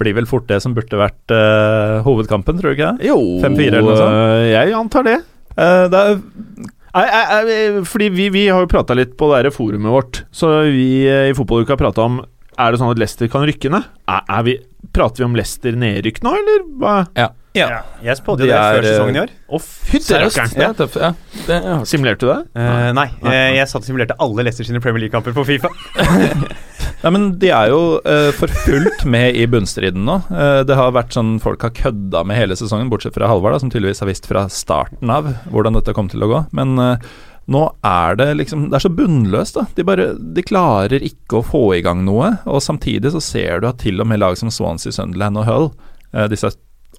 B: blir vel fort det som burde vært eh, hovedkampen, tror du ikke det?
C: Jo
B: 5-4 eller noe sånt?
C: eh, Jeg antar det.
B: Eh, det er
C: Nei, nei, nei, fordi vi, vi har jo prata litt på det her forumet vårt, så vi eh, i Fotballuka prata om Er det sånn at Leicester kan rykke ned? Er, er vi, prater vi om Leicester nedrykk nå, eller hva?
B: Ja.
E: Jeg spådde
B: De
E: jo det
B: er,
E: før sesongen i år.
C: Å, fytti rakkeren!
D: Ja, tøff, ja. Det, ja.
C: Simulerte du det?
E: Eh, nei,
C: Nei.
E: eh, jeg satt og simulerte alle Leicester sine Premier League-kamper på Fifa.
B: Nei, men De er jo eh, for fullt med i bunnstriden nå. Eh, det har vært sånn folk har kødda med hele sesongen, bortsett fra Halvard, da, som tydeligvis har visst fra starten av hvordan dette kom til å gå. Men eh, nå er det liksom Det er så bunnløst, da. De, bare, de klarer ikke å få i gang noe. Og samtidig så ser du at til og med lag som Swansea, Sunderland og Hull, eh, disse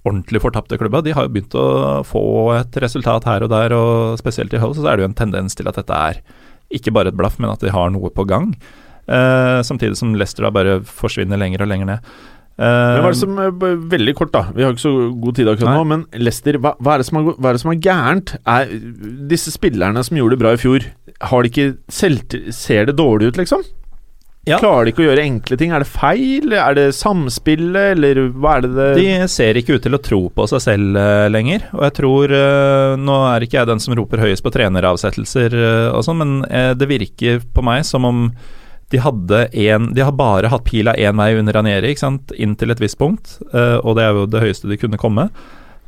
B: ordentlig fortapte klubba, de har jo begynt å få et resultat her og der, og spesielt i Hull så er det jo en tendens til at dette er ikke bare et blaff, men at de har noe på gang. Eh, samtidig som Leicester da bare forsvinner lenger og lenger ned. Eh,
C: Men hva er det som, eh, b- veldig kort, da. Vi har ikke så god tid akkurat nå. Men Lester, hva, hva, er det som er, go- hva er det som er gærent? Er, disse spillerne som gjorde det bra i fjor, har de ikke selvt... Ser det dårlig ut, liksom?
B: Ja.
C: Klarer de ikke å gjøre enkle ting? Er det feil? Er det samspillet, eller hva er det det
B: De ser ikke ut til å tro på seg selv eh, lenger. Og jeg tror eh, Nå er ikke jeg den som roper høyest på treneravsettelser eh, og sånn, men eh, det virker på meg som om de hadde en, De har bare hatt pila én vei under Ranieri, ikke sant, inn til et visst punkt, eh, og det er jo det høyeste de kunne komme.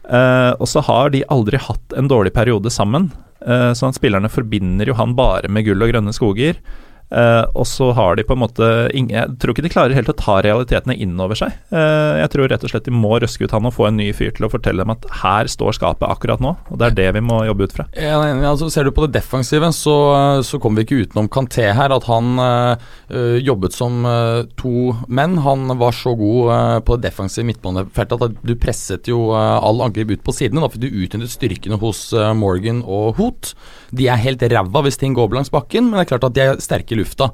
B: Eh, og så har de aldri hatt en dårlig periode sammen, eh, sånn at spillerne forbinder jo han bare med gull og grønne skoger. Eh, og så har de på en måte ingen, Jeg tror ikke de klarer helt å ta realitetene inn over seg. Eh, jeg tror rett og slett de må røske ut han og få en ny fyr til å fortelle dem at her står skapet akkurat nå, og det er det vi må jobbe ut fra.
D: Jeg er enig, altså Ser du på det defensive, så, så kommer vi ikke utenom Kanté her. At han øh, jobbet som øh, to menn. Han var så god øh, på det defensive midtbanefeltet at du presset jo øh, all angrep ut på sidene. Da fikk du utnyttet styrkene hos øh, Morgan og Hoot. De er helt ræva hvis ting går opp langs bakken, men det er klart at de er sterke i lufta.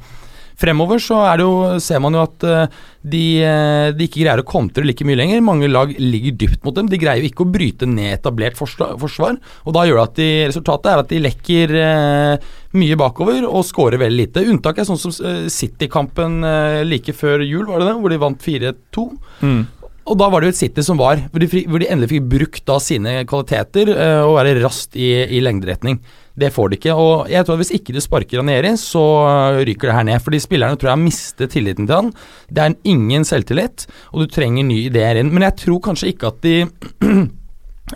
D: Fremover så er det jo, ser man jo at eh, de, eh, de ikke greier å kontre like mye lenger. Mange lag ligger dypt mot dem. De greier jo ikke å bryte ned etablert forsla- forsvar. Og da gjør det at de, resultatet er at de lekker eh, mye bakover og scorer veldig lite. Unntaket er sånn som eh, City-kampen eh, like før jul, var det det? Hvor de vant 4-2.
C: Mm.
D: Og da var det jo et City som var, hvor de, fri- hvor de endelig fikk brukt da sine kvaliteter eh, og være raskt i, i lengderetning. Det får de ikke. og jeg tror at Hvis ikke de sparker Ranieri, så eh, ryker det her ned. fordi Spillerne tror jeg mister tilliten til han. Det er ingen selvtillit, og du trenger nye ideer inn. Men jeg tror kanskje ikke at de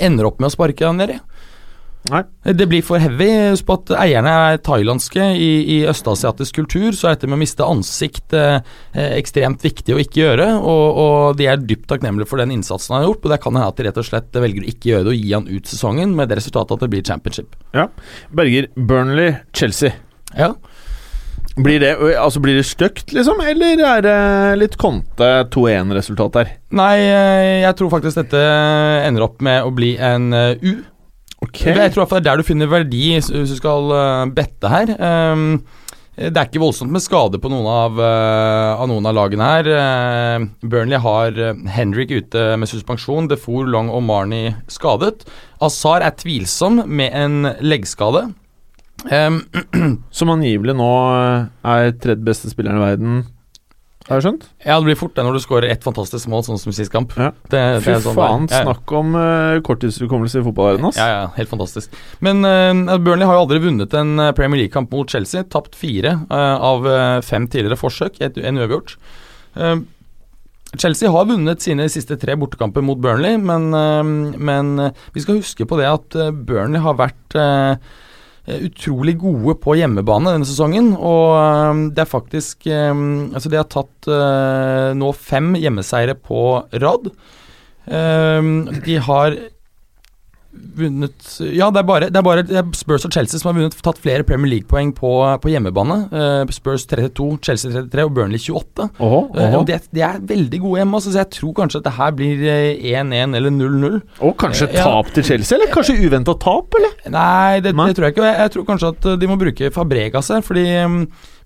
D: ender opp med å sparke Ranieri.
C: Nei.
D: Det blir for heavy. Husk på at eierne er thailandske. I, i østasiatisk kultur så er dette med å miste ansikt eh, eh, ekstremt viktig å ikke gjøre. Og, og de er dypt takknemlige for den innsatsen han har gjort. Og det kan hende at de rett og slett velger å ikke gjøre det og gi han ut sesongen med det resultatet at det blir championship.
C: Berger, Burnley, Chelsea.
D: Ja.
C: Blir det, altså blir det stygt, liksom? Eller er det litt Conte 2-1-resultat der?
D: Nei, eh, jeg tror faktisk dette ender opp med å bli en eh, U.
C: Ok
D: Jeg tror i hvert fall det er der du finner verdi s- hvis du skal eh, bette her. Ehm, det er ikke voldsomt med skade på noen av, eh, av, noen av lagene her. Ehm, Burnley har eh, Henrik ute med suspensjon, Defour, Long og Marnie skadet. Azar er tvilsom med en leggskade. Ehm,
C: Som angivelig nå er tredje beste spilleren i verden. Har jeg skjønt?
D: ja, det blir fort det når du skårer ett fantastisk mål, sånn som sist kamp.
C: Ja.
D: Det, det
C: Fy
D: er sånn det er.
C: faen,
D: Ja, ja.
C: snakk om uh, korttidshukommelse i fotballverdenen, ass.
D: Ja, ja, helt fantastisk. Men eh, Burnley har jo aldri vunnet en eh, Premier League-kamp mot Chelsea. Tapt fire eh, av eh, fem tidligere forsøk, et, en uavgjort. Eh, Chelsea har vunnet sine siste tre bortekamper mot Burnley, men, eh, men eh, vi skal huske på det at eh, Burnley har vært eh, Utrolig gode på hjemmebane denne sesongen, og eh, det er faktisk eh, Altså, de har tatt eh, nå fem hjemmeseire på rad. Eh, De har vunnet Ja, det er bare, det er bare det er Spurs og Chelsea som har vunnet, tatt flere Premier League-poeng på, på hjemmebane. Eh, Spurs 32, Chelsea 33 og Burnley 28.
C: Åhå,
D: Eh,
C: åhå.
D: og det, det er veldig gode hjemme, altså, så jeg tror kanskje at det her blir eh, 1-1 eller 0-0.
C: Og kanskje
D: Ja.
C: tap til Chelsea? Eller kanskje uventa tap, eller?
D: Nei, det,
C: Nei.
D: det tror jeg ikke. og Jeg, jeg tror kanskje at eh, de må bruke Fabregas her, fordi eh,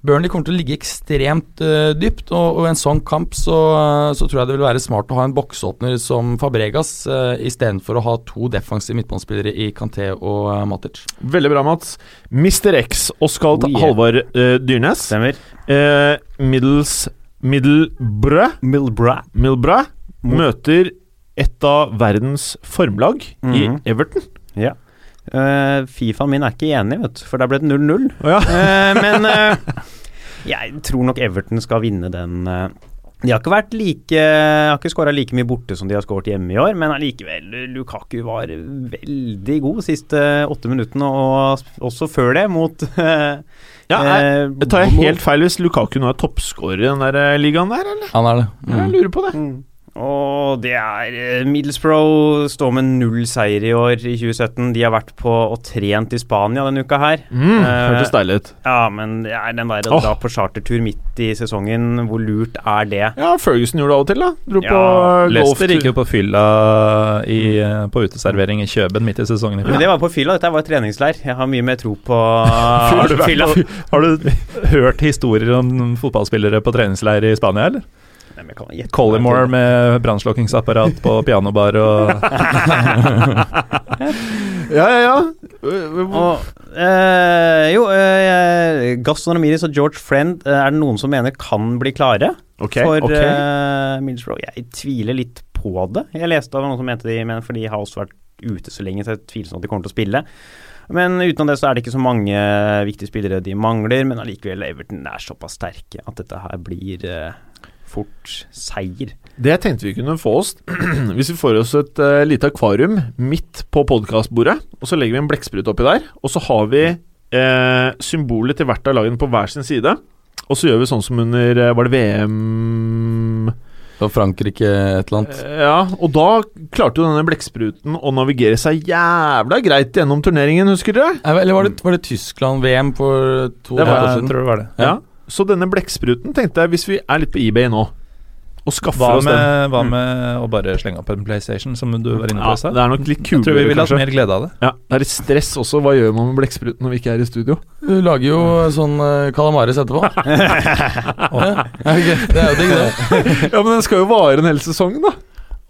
D: Burnley kommer til å ligge ekstremt eh, dypt, og, og i en sånn kamp så, eh, så tror jeg det vil være smart å ha en boksåpner som Fabregas, uh, istedenfor å ha to defensive midtbanespillere i Canté og eh, Matic.
C: Veldig bra, Mats. Mr. X, Oskald
E: Oh, yeah.
C: Halvor eh, Dyrnes.
E: Stemmer.
C: Eh, middels Middelbrø
E: Milbra.
C: Milbra møter et av verdens formlag
E: Mhm.
C: i Everton.
E: Ja. Eh, Fifaen min er ikke enig, vet du, for der ble det 0-0.
C: Å ja.
E: Eh, men eh, jeg tror nok Everton skal vinne den. eh. De har ikke vært like Har ikke skåra like mye borte som de har skåret hjemme i år, men allikevel. Lukaku var veldig god de siste åtte minuttene, og s- også før det, mot eh,
C: Ja,
E: eh,
C: jeg, tar jeg
E: mot-
C: helt feil hvis Lukaku nå er toppskårer i den der eh, ligaen der, eller?
D: Han er det.
C: Jeg lurer på det.
E: Mm. Og det er eh, Middlesbrough står med null seier i år, i 2017. De har vært på og trent i Spania denne uka her.
C: Mm,
E: Eh,
C: hørtes deilig ut.
E: Ja, men det er den der å
C: Åh.
E: dra på chartertur midt i sesongen, hvor lurt er det?
C: Ja, Ferguson gjorde det av og til, da. Dro
E: Ja,
C: på eh, golf Mm.
B: Leicester gikk jo på fylla i, eh, på uteservering i Kjøben midt i sesongen. i fjor.
E: Men det var på fylla, dette var treningsleir. Jeg har mye mer tro på
C: Har du vært
E: fylla.
C: på-
B: Har du hørt historier om fotballspillere på treningsleir i Spania, eller?
E: Nei, men jeg kan gjette.
B: Collymore med brannslukkingsapparat på pianobar og
C: Ja, ja, ja. Eh,
E: Og, eh, jo, eh, Gaston Ramirez og George Friend eh, er det noen som mener kan bli klare
C: Ok,
E: for
C: ok.
E: eh, Middlesbrough. Jeg tviler litt på det. Jeg leste av noen som mente de, men for de har også vært ute så lenge, så jeg tviler sånn at de kommer til å spille. Men utenom det så er det ikke så mange eh, viktige spillere de mangler, men allikevel, Everton er såpass sterke at dette her blir eh, fort seier.
C: Det tenkte vi kunne få oss hvis vi får oss et eh, lite akvarium midt på podkastbordet, og så legger vi en blekksprut oppi der, og så har vi eh, symbolet til hvert av lagene på hver sin side. Og så gjør vi sånn som under eh, Var det VM
D: Og Frankrike et eller annet.
C: Ja, og da klarte jo denne blekkspruten å navigere seg jævla greit gjennom turneringen, husker dere?
D: Eh, Eller var det, var det Tyskland-VM for to
C: Det var sånn.
D: år
B: Ja, jeg
D: siden?
B: tror det var det.
D: Ja.
C: Ja. Så denne blekkspruten tenkte jeg, hvis vi er litt på eBay nå, og skaffer
B: Hva
C: oss den
B: med, hva med å bare slenge opp en PlayStation, som du var inne
C: Mm. ja,
B: på i stad?
C: Det er nok litt
B: Jeg tror vi
C: kulere,
B: ville hatt
C: kanskje.
B: mer glede av det.
C: Ja, det er litt stress også. Hva gjør man med blekkspruten når vi ikke er i studio?
D: Du lager jo sånn eh, calamaris etterpå. Ja, ok, Det er jo digg, det.
C: Ja, men den skal jo vare en hel sesong, da.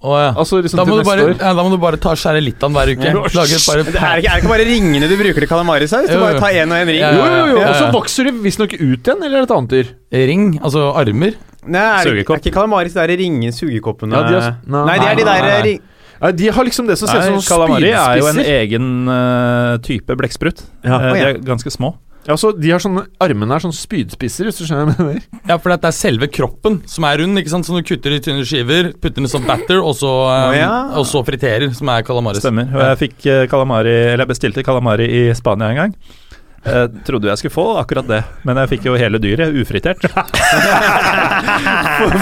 D: Å, ja.
C: Altså liksom
D: da, må
C: til
D: du
C: neste
D: bare,
C: år.
D: ja, da må du bare ta skjære litt av den hver uke.
C: Ja.
D: Lage et
E: Men Det er,
D: bare
E: ikke, er det ikke bare ringene du bruker til kalamarisaus? Du
D: Jo, jo.
E: bare tar én og én ring?
D: Ja,
C: Jo, jo, jo.
D: ja, ja.
C: Og så vokser de visstnok ut igjen, eller er det et annet dyr?
D: ring, altså armer.
E: Nei, er det, ikke-
B: Sugekopp.
E: er ikke kalamaris det er ringe sugekoppene
C: Ja, de har-
E: nei, det er de
C: nei,
E: der
C: nei,
E: eh,
C: nei.
E: ring...
C: Nei, de har liksom det som ser
B: Nei,
C: ut som
B: Kalamari er jo en e-
C: spydspisser.
B: egen eh, type blekksprut.
C: Ja.
B: Eh, de
E: ja.
B: er ganske små.
C: Ja, så Altså, de har sånne Armene er sånn spydspisser, hvis du skjønner hva jeg mener.
D: Ja, for det er selve kroppen som er rund, ikke sant? så du kutter i tynne skiver, putter den som batter, og så, eh,
E: Å, ja.
D: og så friterer, som er calamaris.
B: Stemmer. Og jeg fikk eh, kalamari, eller jeg bestilte kalamari i Spania en gang. Eh, trodde jeg skulle få akkurat det, men jeg fikk jo hele dyret ufritert.
C: For,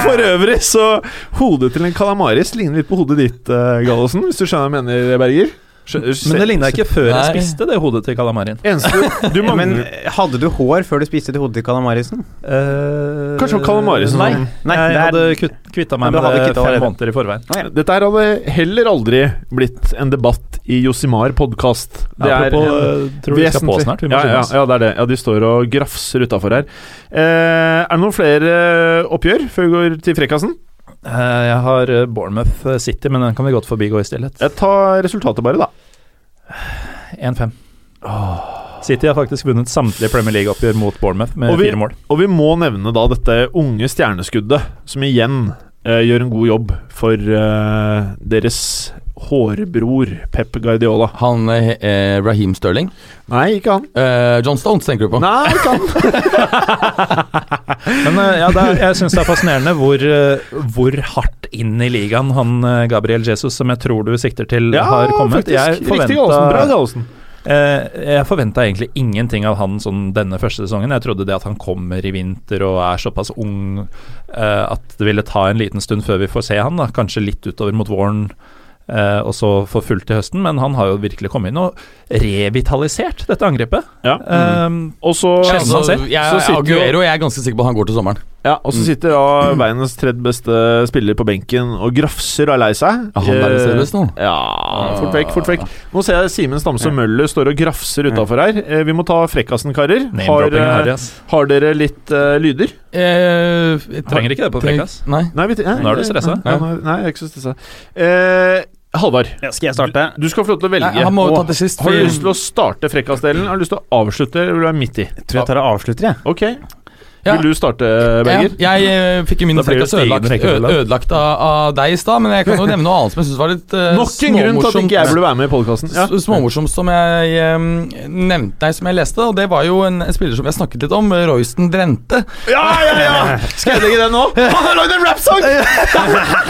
C: for øvrig så Hodet til en kalamaris ligner litt på hodet ditt, eh, Gallosen, hvis du skjønner hva jeg mener, Berger.
B: Men det ligna ikke før jeg
D: Nei.
B: spiste det hodet til kalamarien.
C: Eneste du
E: Ja, men
C: mangler
E: hadde du hår før du spiste til hodet til kalamarisen?
B: Eh,
C: Kanskje det var kalamari som-
B: Nei,
E: sånn, Nei,
B: jeg
E: det er-
B: hadde kutt, kvitta meg
E: Men du
B: med
E: hadde
B: det
E: kvittet
B: fem
E: allerede.
B: måneder i forveien.
C: Dette her hadde heller aldri blitt en debatt i Josimar-podkast.
B: Det er, eh, tror
C: eh,
B: vi skal på
C: vesentlig.
B: snart. Vi må
C: ja, ja,
B: skynde oss.
C: ja, det er det. Ja, de står og grafser utafor her. Eh, er det noen flere eh, oppgjør før vi går til frekkasen?
B: Eh, jeg har eh, Bournemouth eh, City, men den kan vi godt forbigå i stillhet.
C: Jeg tar resultatet bare, da.
B: 1-5. City har faktisk vunnet samtlige Premier League-oppgjør mot Bournemouth med
C: Og vi-
B: fire mål.
C: Og vi må nevne da dette unge stjerneskuddet, som igjen eh, gjør en god jobb for eh, deres hårbror Pep Guardiola.
D: Han eh, eh, Raheem Sterling.
C: Nei, ikke han.
D: Eh, John Stones tenker du på?
C: Nei, ikke han.
B: Men eh, ja, det er, jeg syns det er fascinerende hvor, eh, hvor hardt inn i ligaen han eh, Gabriel Jesus, som jeg tror du sikter til, har kommet.
C: faktisk.
B: Jeg
C: Riktig, Gallosen. Bra,
B: forventa,
C: Gallosen.
B: eh, jeg forventa egentlig ingenting av han sånn denne første sesongen. Jeg trodde det at han kommer i vinter og er såpass ung eh, at det ville ta en liten stund før vi får se han, da. kanskje litt utover mot våren. eh, og så for fullt til høsten, men han har jo virkelig kommet inn og revitalisert dette angrepet.
C: Ja.
B: Eh,
C: Mm. Og så
D: Ja,
B: Sjelden han
D: altså,
B: ser.
C: Så
D: jeg,
C: sitter jo-
D: Aguero, jeg er ganske sikker på at han går til sommeren.
C: Ja, og
D: Mm.
C: så sitter da verdens tredje beste spiller på benken og grafser og er lei seg.
D: Ja, han er
C: Eh,
D: i seriøst nå.
C: Ja,
D: Ah.
C: fort vekk, fort vekk. Nå ser jeg Simen Stamse Møller står og grafser utafor her. Eh, Vi må ta frekkasen, karer. Har,
B: Name-droppingen her,
C: eh,
B: yes.
C: har dere litt eh, lyder?
D: Eh, jeg tar-
B: Trenger ikke det på
D: trenger-
B: frekkas.
D: Nei.
C: Nei, vet, eh,
B: Nå er du stressa.
C: Nei, nei, nei, jeg er ikke så stressa. Eh, Halvard,
E: Ja, skal jeg starte?
C: du skal få lov til å velge.
D: Nei, han må jo ta
C: Og-
D: det sist.
C: har du
D: for-
C: lyst til å starte frekkasdelen? Har du lyst til å avslutte, eller vil du være midt i?
E: Jeg tror jeg tar og avslutter, jeg.
C: Ok,
D: Ja.
C: Vil du starte, Berger?
D: Ja, jeg eh, fikk jo min
B: Da blir det
D: frekkas ødelagt,
B: stigende
D: ø-
B: rekkefølge.
D: ødelagt av, av deg i stad, men jeg kan jo nevne noe annet som jeg syns var litt eh,
C: Nok en grunn til at ikke jeg
D: småmorsomt.
C: burde være med i podkasten. Ja.
D: S- Småmorsomt som jeg eh, nevnte deg, som jeg leste, og det var jo en, en spiller som jeg snakket litt om, eh, Royston Drente.
C: Ja, ja, ja! Skal jeg legge den nå? Han har lagd en rappsang!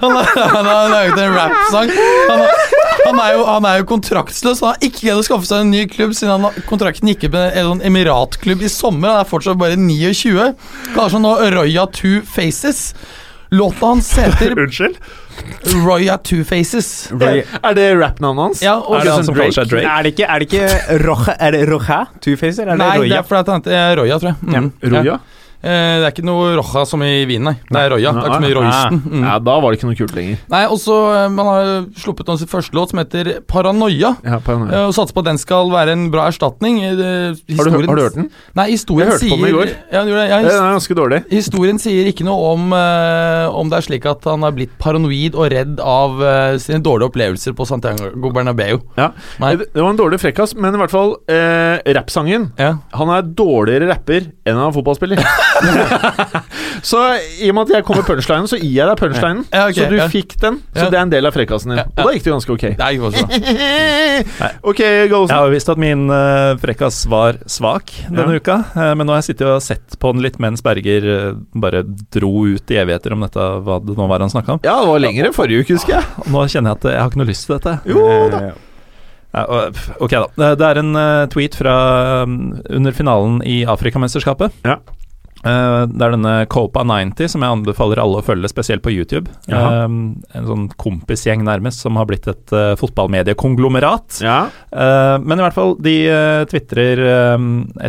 D: Han har, han har laget en rappsang. Han, har- han, er jo- han er jo kontraktsløs. Han har ikke greid å skaffe seg en ny klubb siden han, har- kontrakten gikk ut med en sånn emiratklubb i sommer. Han er fortsatt bare 29. Kaller seg nå Roya Two Faces. Låta hans heter
B: Unnskyld?
D: Roya Two Faces.
C: Er det rap-navnet hans?
D: Ja, og
B: Er det han som
C: Drake?
B: kaller seg Drake?
E: Er det ikke, er det ikke Roja Er det Roja? Two-facer? Er det
D: Nei, det
E: Roja?
D: er fordi at han heter eh, Roya, tror jeg. Mm.
C: Roya?
D: Ja. Eh, det er ikke noe Roja som i vin, nei. Det er Roya. Det er ikke så mye Roysten. Mm.
C: Ja, da var det ikke noe kult lenger.
D: Nei, og så eh, Man har sluppet nå sitt første låt, som heter Paranoia.
C: Ja, på en-
D: eh, Og satser på at den skal være en bra erstatning. Eh, det-
C: har, du, hørt-
D: historien-
C: har du hørt den?
D: Nei, historien
C: Jeg hørte på
D: sier
C: den i går.
D: Ja, du gjorde det. Ja,
C: Den
D: his-
C: er ganske dårlig.
D: Historien sier ikke noe om eh, om det er slik at han har blitt paranoid og redd av eh, sine dårlige opplevelser på Santiago Bernabeu.
C: Ja.
D: Nei.
C: Eh, Det det var en dårlig frekkas, men i hvert fall eh, Rappsangen
D: Ja.
C: Han er dårligere rapper enn han er fotballspiller. så i og med at jeg kom med punchlinen, så gir jeg deg punchlinen.
D: Ja, ok,
C: så du
D: ja.
C: fikk den. Så
D: Ja.
C: det er en del av frekkasen din.
D: Ja, ja.
C: Og da gikk det ganske ok.
D: Det er ikke så bra.
C: ok, Gallosen.
B: Jeg har jo visst at min eh, frekkas var svak denne
C: Ja.
B: uka, eh, men nå har jeg sittet og sett på den litt mens Berger eh, bare dro ut i evigheter om dette, hva det nå var han snakka om.
C: Ja, det var lenger enn forrige uke, husker jeg.
B: Og nå kjenner jeg at eh, jeg har ikke noe lyst til dette.
C: Jo da.
E: Eh,
B: Ja, og, pff, ok, da. Eh, Det er en eh, tweet fra mm, under finalen i Afrikamesterskapet.
C: Ja.
B: Eh, det er denne Copa 90 som jeg anbefaler alle å følge, spesielt på YouTube.
C: Jaha.
B: Eh, en sånn kompisgjeng, nærmest, som har blitt et uh, fotballmediekonglomerat.
C: Ja.
B: Eh, men i hvert fall, de uh, tvitrer eh,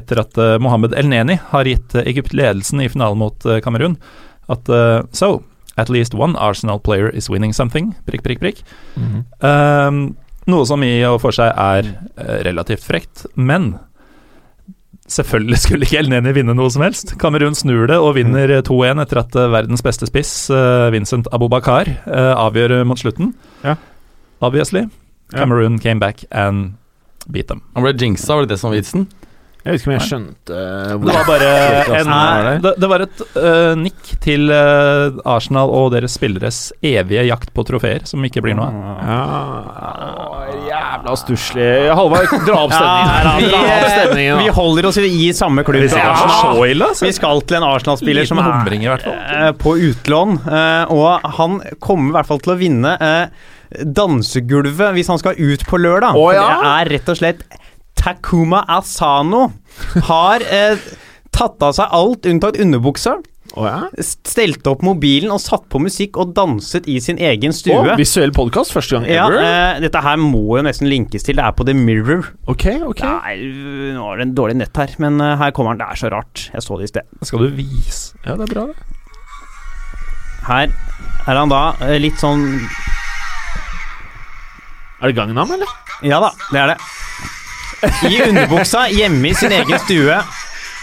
B: etter at eh, Mohammed El-Neni har gitt eh, Egypt ledelsen i finalen mot eh, Kamerun, at eh, So, at least one Arsenal player is winning something, prikk, prikk, prikk. Ehm, noe som i og for seg er eh, relativt frekt, men selvfølgelig skulle ikke Elneni vinne noe som helst. Kamerun snur det og vinner
C: Mm.
B: eh, 2-1 etter at eh, verdens beste spiss, eh, Vincent Abubakar, eh, avgjør eh, mot slutten.
C: Ja.
B: Obviously.
C: Ja.
B: Cameroon came back and beat them.
D: Han ble jinxa, var det det som var vitsen?
C: Jeg vet ikke om jeg skjønte eh,
B: Det
C: hvor
B: var bare
C: Frekkasen var der.
B: en, det, det var et eh, nikk til eh, Arsenal og deres spilleres evige jakt på trofeer, som ikke blir noe av.
C: ja. Å, Jævla stusslig. Halvard, dra opp stemningen.
E: vi,
C: Dra opp
E: eh, vi
C: stemningen da.
E: holder oss i samme klubb.
B: Det var
E: Ja.
B: så ille, altså.
E: Vi skal til en Arsenal-spiller som
B: Liten
E: er
B: humring i hvert fall.
E: eh, på utlån, eh, og han kommer i hvert fall til å vinne eh, dansegulvet hvis han skal ut på lørdag.
C: Å,
E: For Det
C: ja?
E: er rett og slett Takuma Asano har eh, tatt av seg alt unntatt underbuksa,
C: Å, ja.
E: stelte opp mobilen og satt på musikk og danset i sin egen stue.
C: Å, visuell podkast. Første gang
E: ja,
C: ever.
E: eh, dette her må jo nesten linkes til. Det er på The Mirror.
C: ok, ok.
E: Nei, nå er det en dårlig nett her, men eh, her kommer han. Det er så rart. Jeg så det i sted.
B: Skal du vise
C: Ja, det er bra, det.
E: Her er han da eh, litt sånn
C: Er det Gangnam, eller?
E: Ja da, det er det. I underbuksa, hjemme i sin egen stue,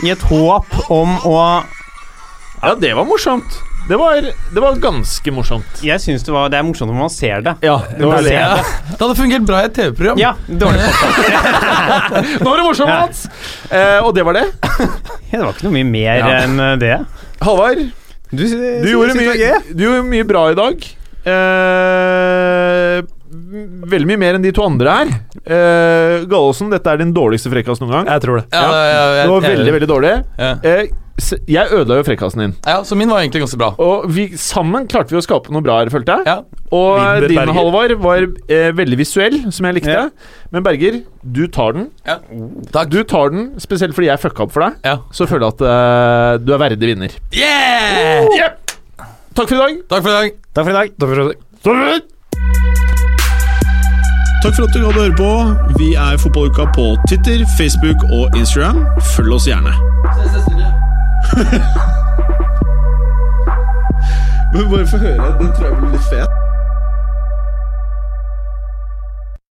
E: i et håp om å
C: Ja, det var morsomt. Det var, det var ganske morsomt.
E: Jeg syns det, var- det er morsomt når man ser det.
C: Ja, det var
E: det.
C: det.
D: Det hadde fungert bra i et TV-program.
E: Ja, dårlig forslag.
C: Nå var det morsomt,
E: Ja.
C: Mats! Eh, og det var det.
E: Ja, Det var ikke noe mye mer
C: Ja.
E: enn eh, det.
C: Halvard,
E: Du,
C: du, gjorde mye, du gjorde mye bra i dag. Eh, veldig mye mer enn de to andre her. Eh, Gallosen, dette er din dårligste frekkas noen gang.
B: Jeg tror det.
D: Ja, det, ja,
C: Det
D: jeg-
C: var
D: jeg-
C: veldig, veldig dårlig.
D: ja.
C: Eh, s- jeg ødela jo frekkasen din.
D: ja, Så min var egentlig ganske bra.
C: Og vi, sammen klarte vi å skape noe bra her, følte jeg.
D: Ja.
C: Og
B: Vinner
C: din,
B: Berger.
C: Halvard, var eh, veldig visuell, som jeg likte.
E: Ja.
C: Men Berger, du tar den.
D: ja. Takk.
C: Du tar den, spesielt fordi jeg fucka opp for deg.
D: Ja.
C: Så føler jeg at eh, du er verdig vinner.
D: Yeah!
C: Takk for i dag.
D: Takk for i dag.
E: Takk for i dag.
A: Takk for at du hadde høre på. Vi er Fotballuka på Titter, Facebook og Instagram. Følg oss gjerne. Men bare få høre. Den tror jeg blir litt fet.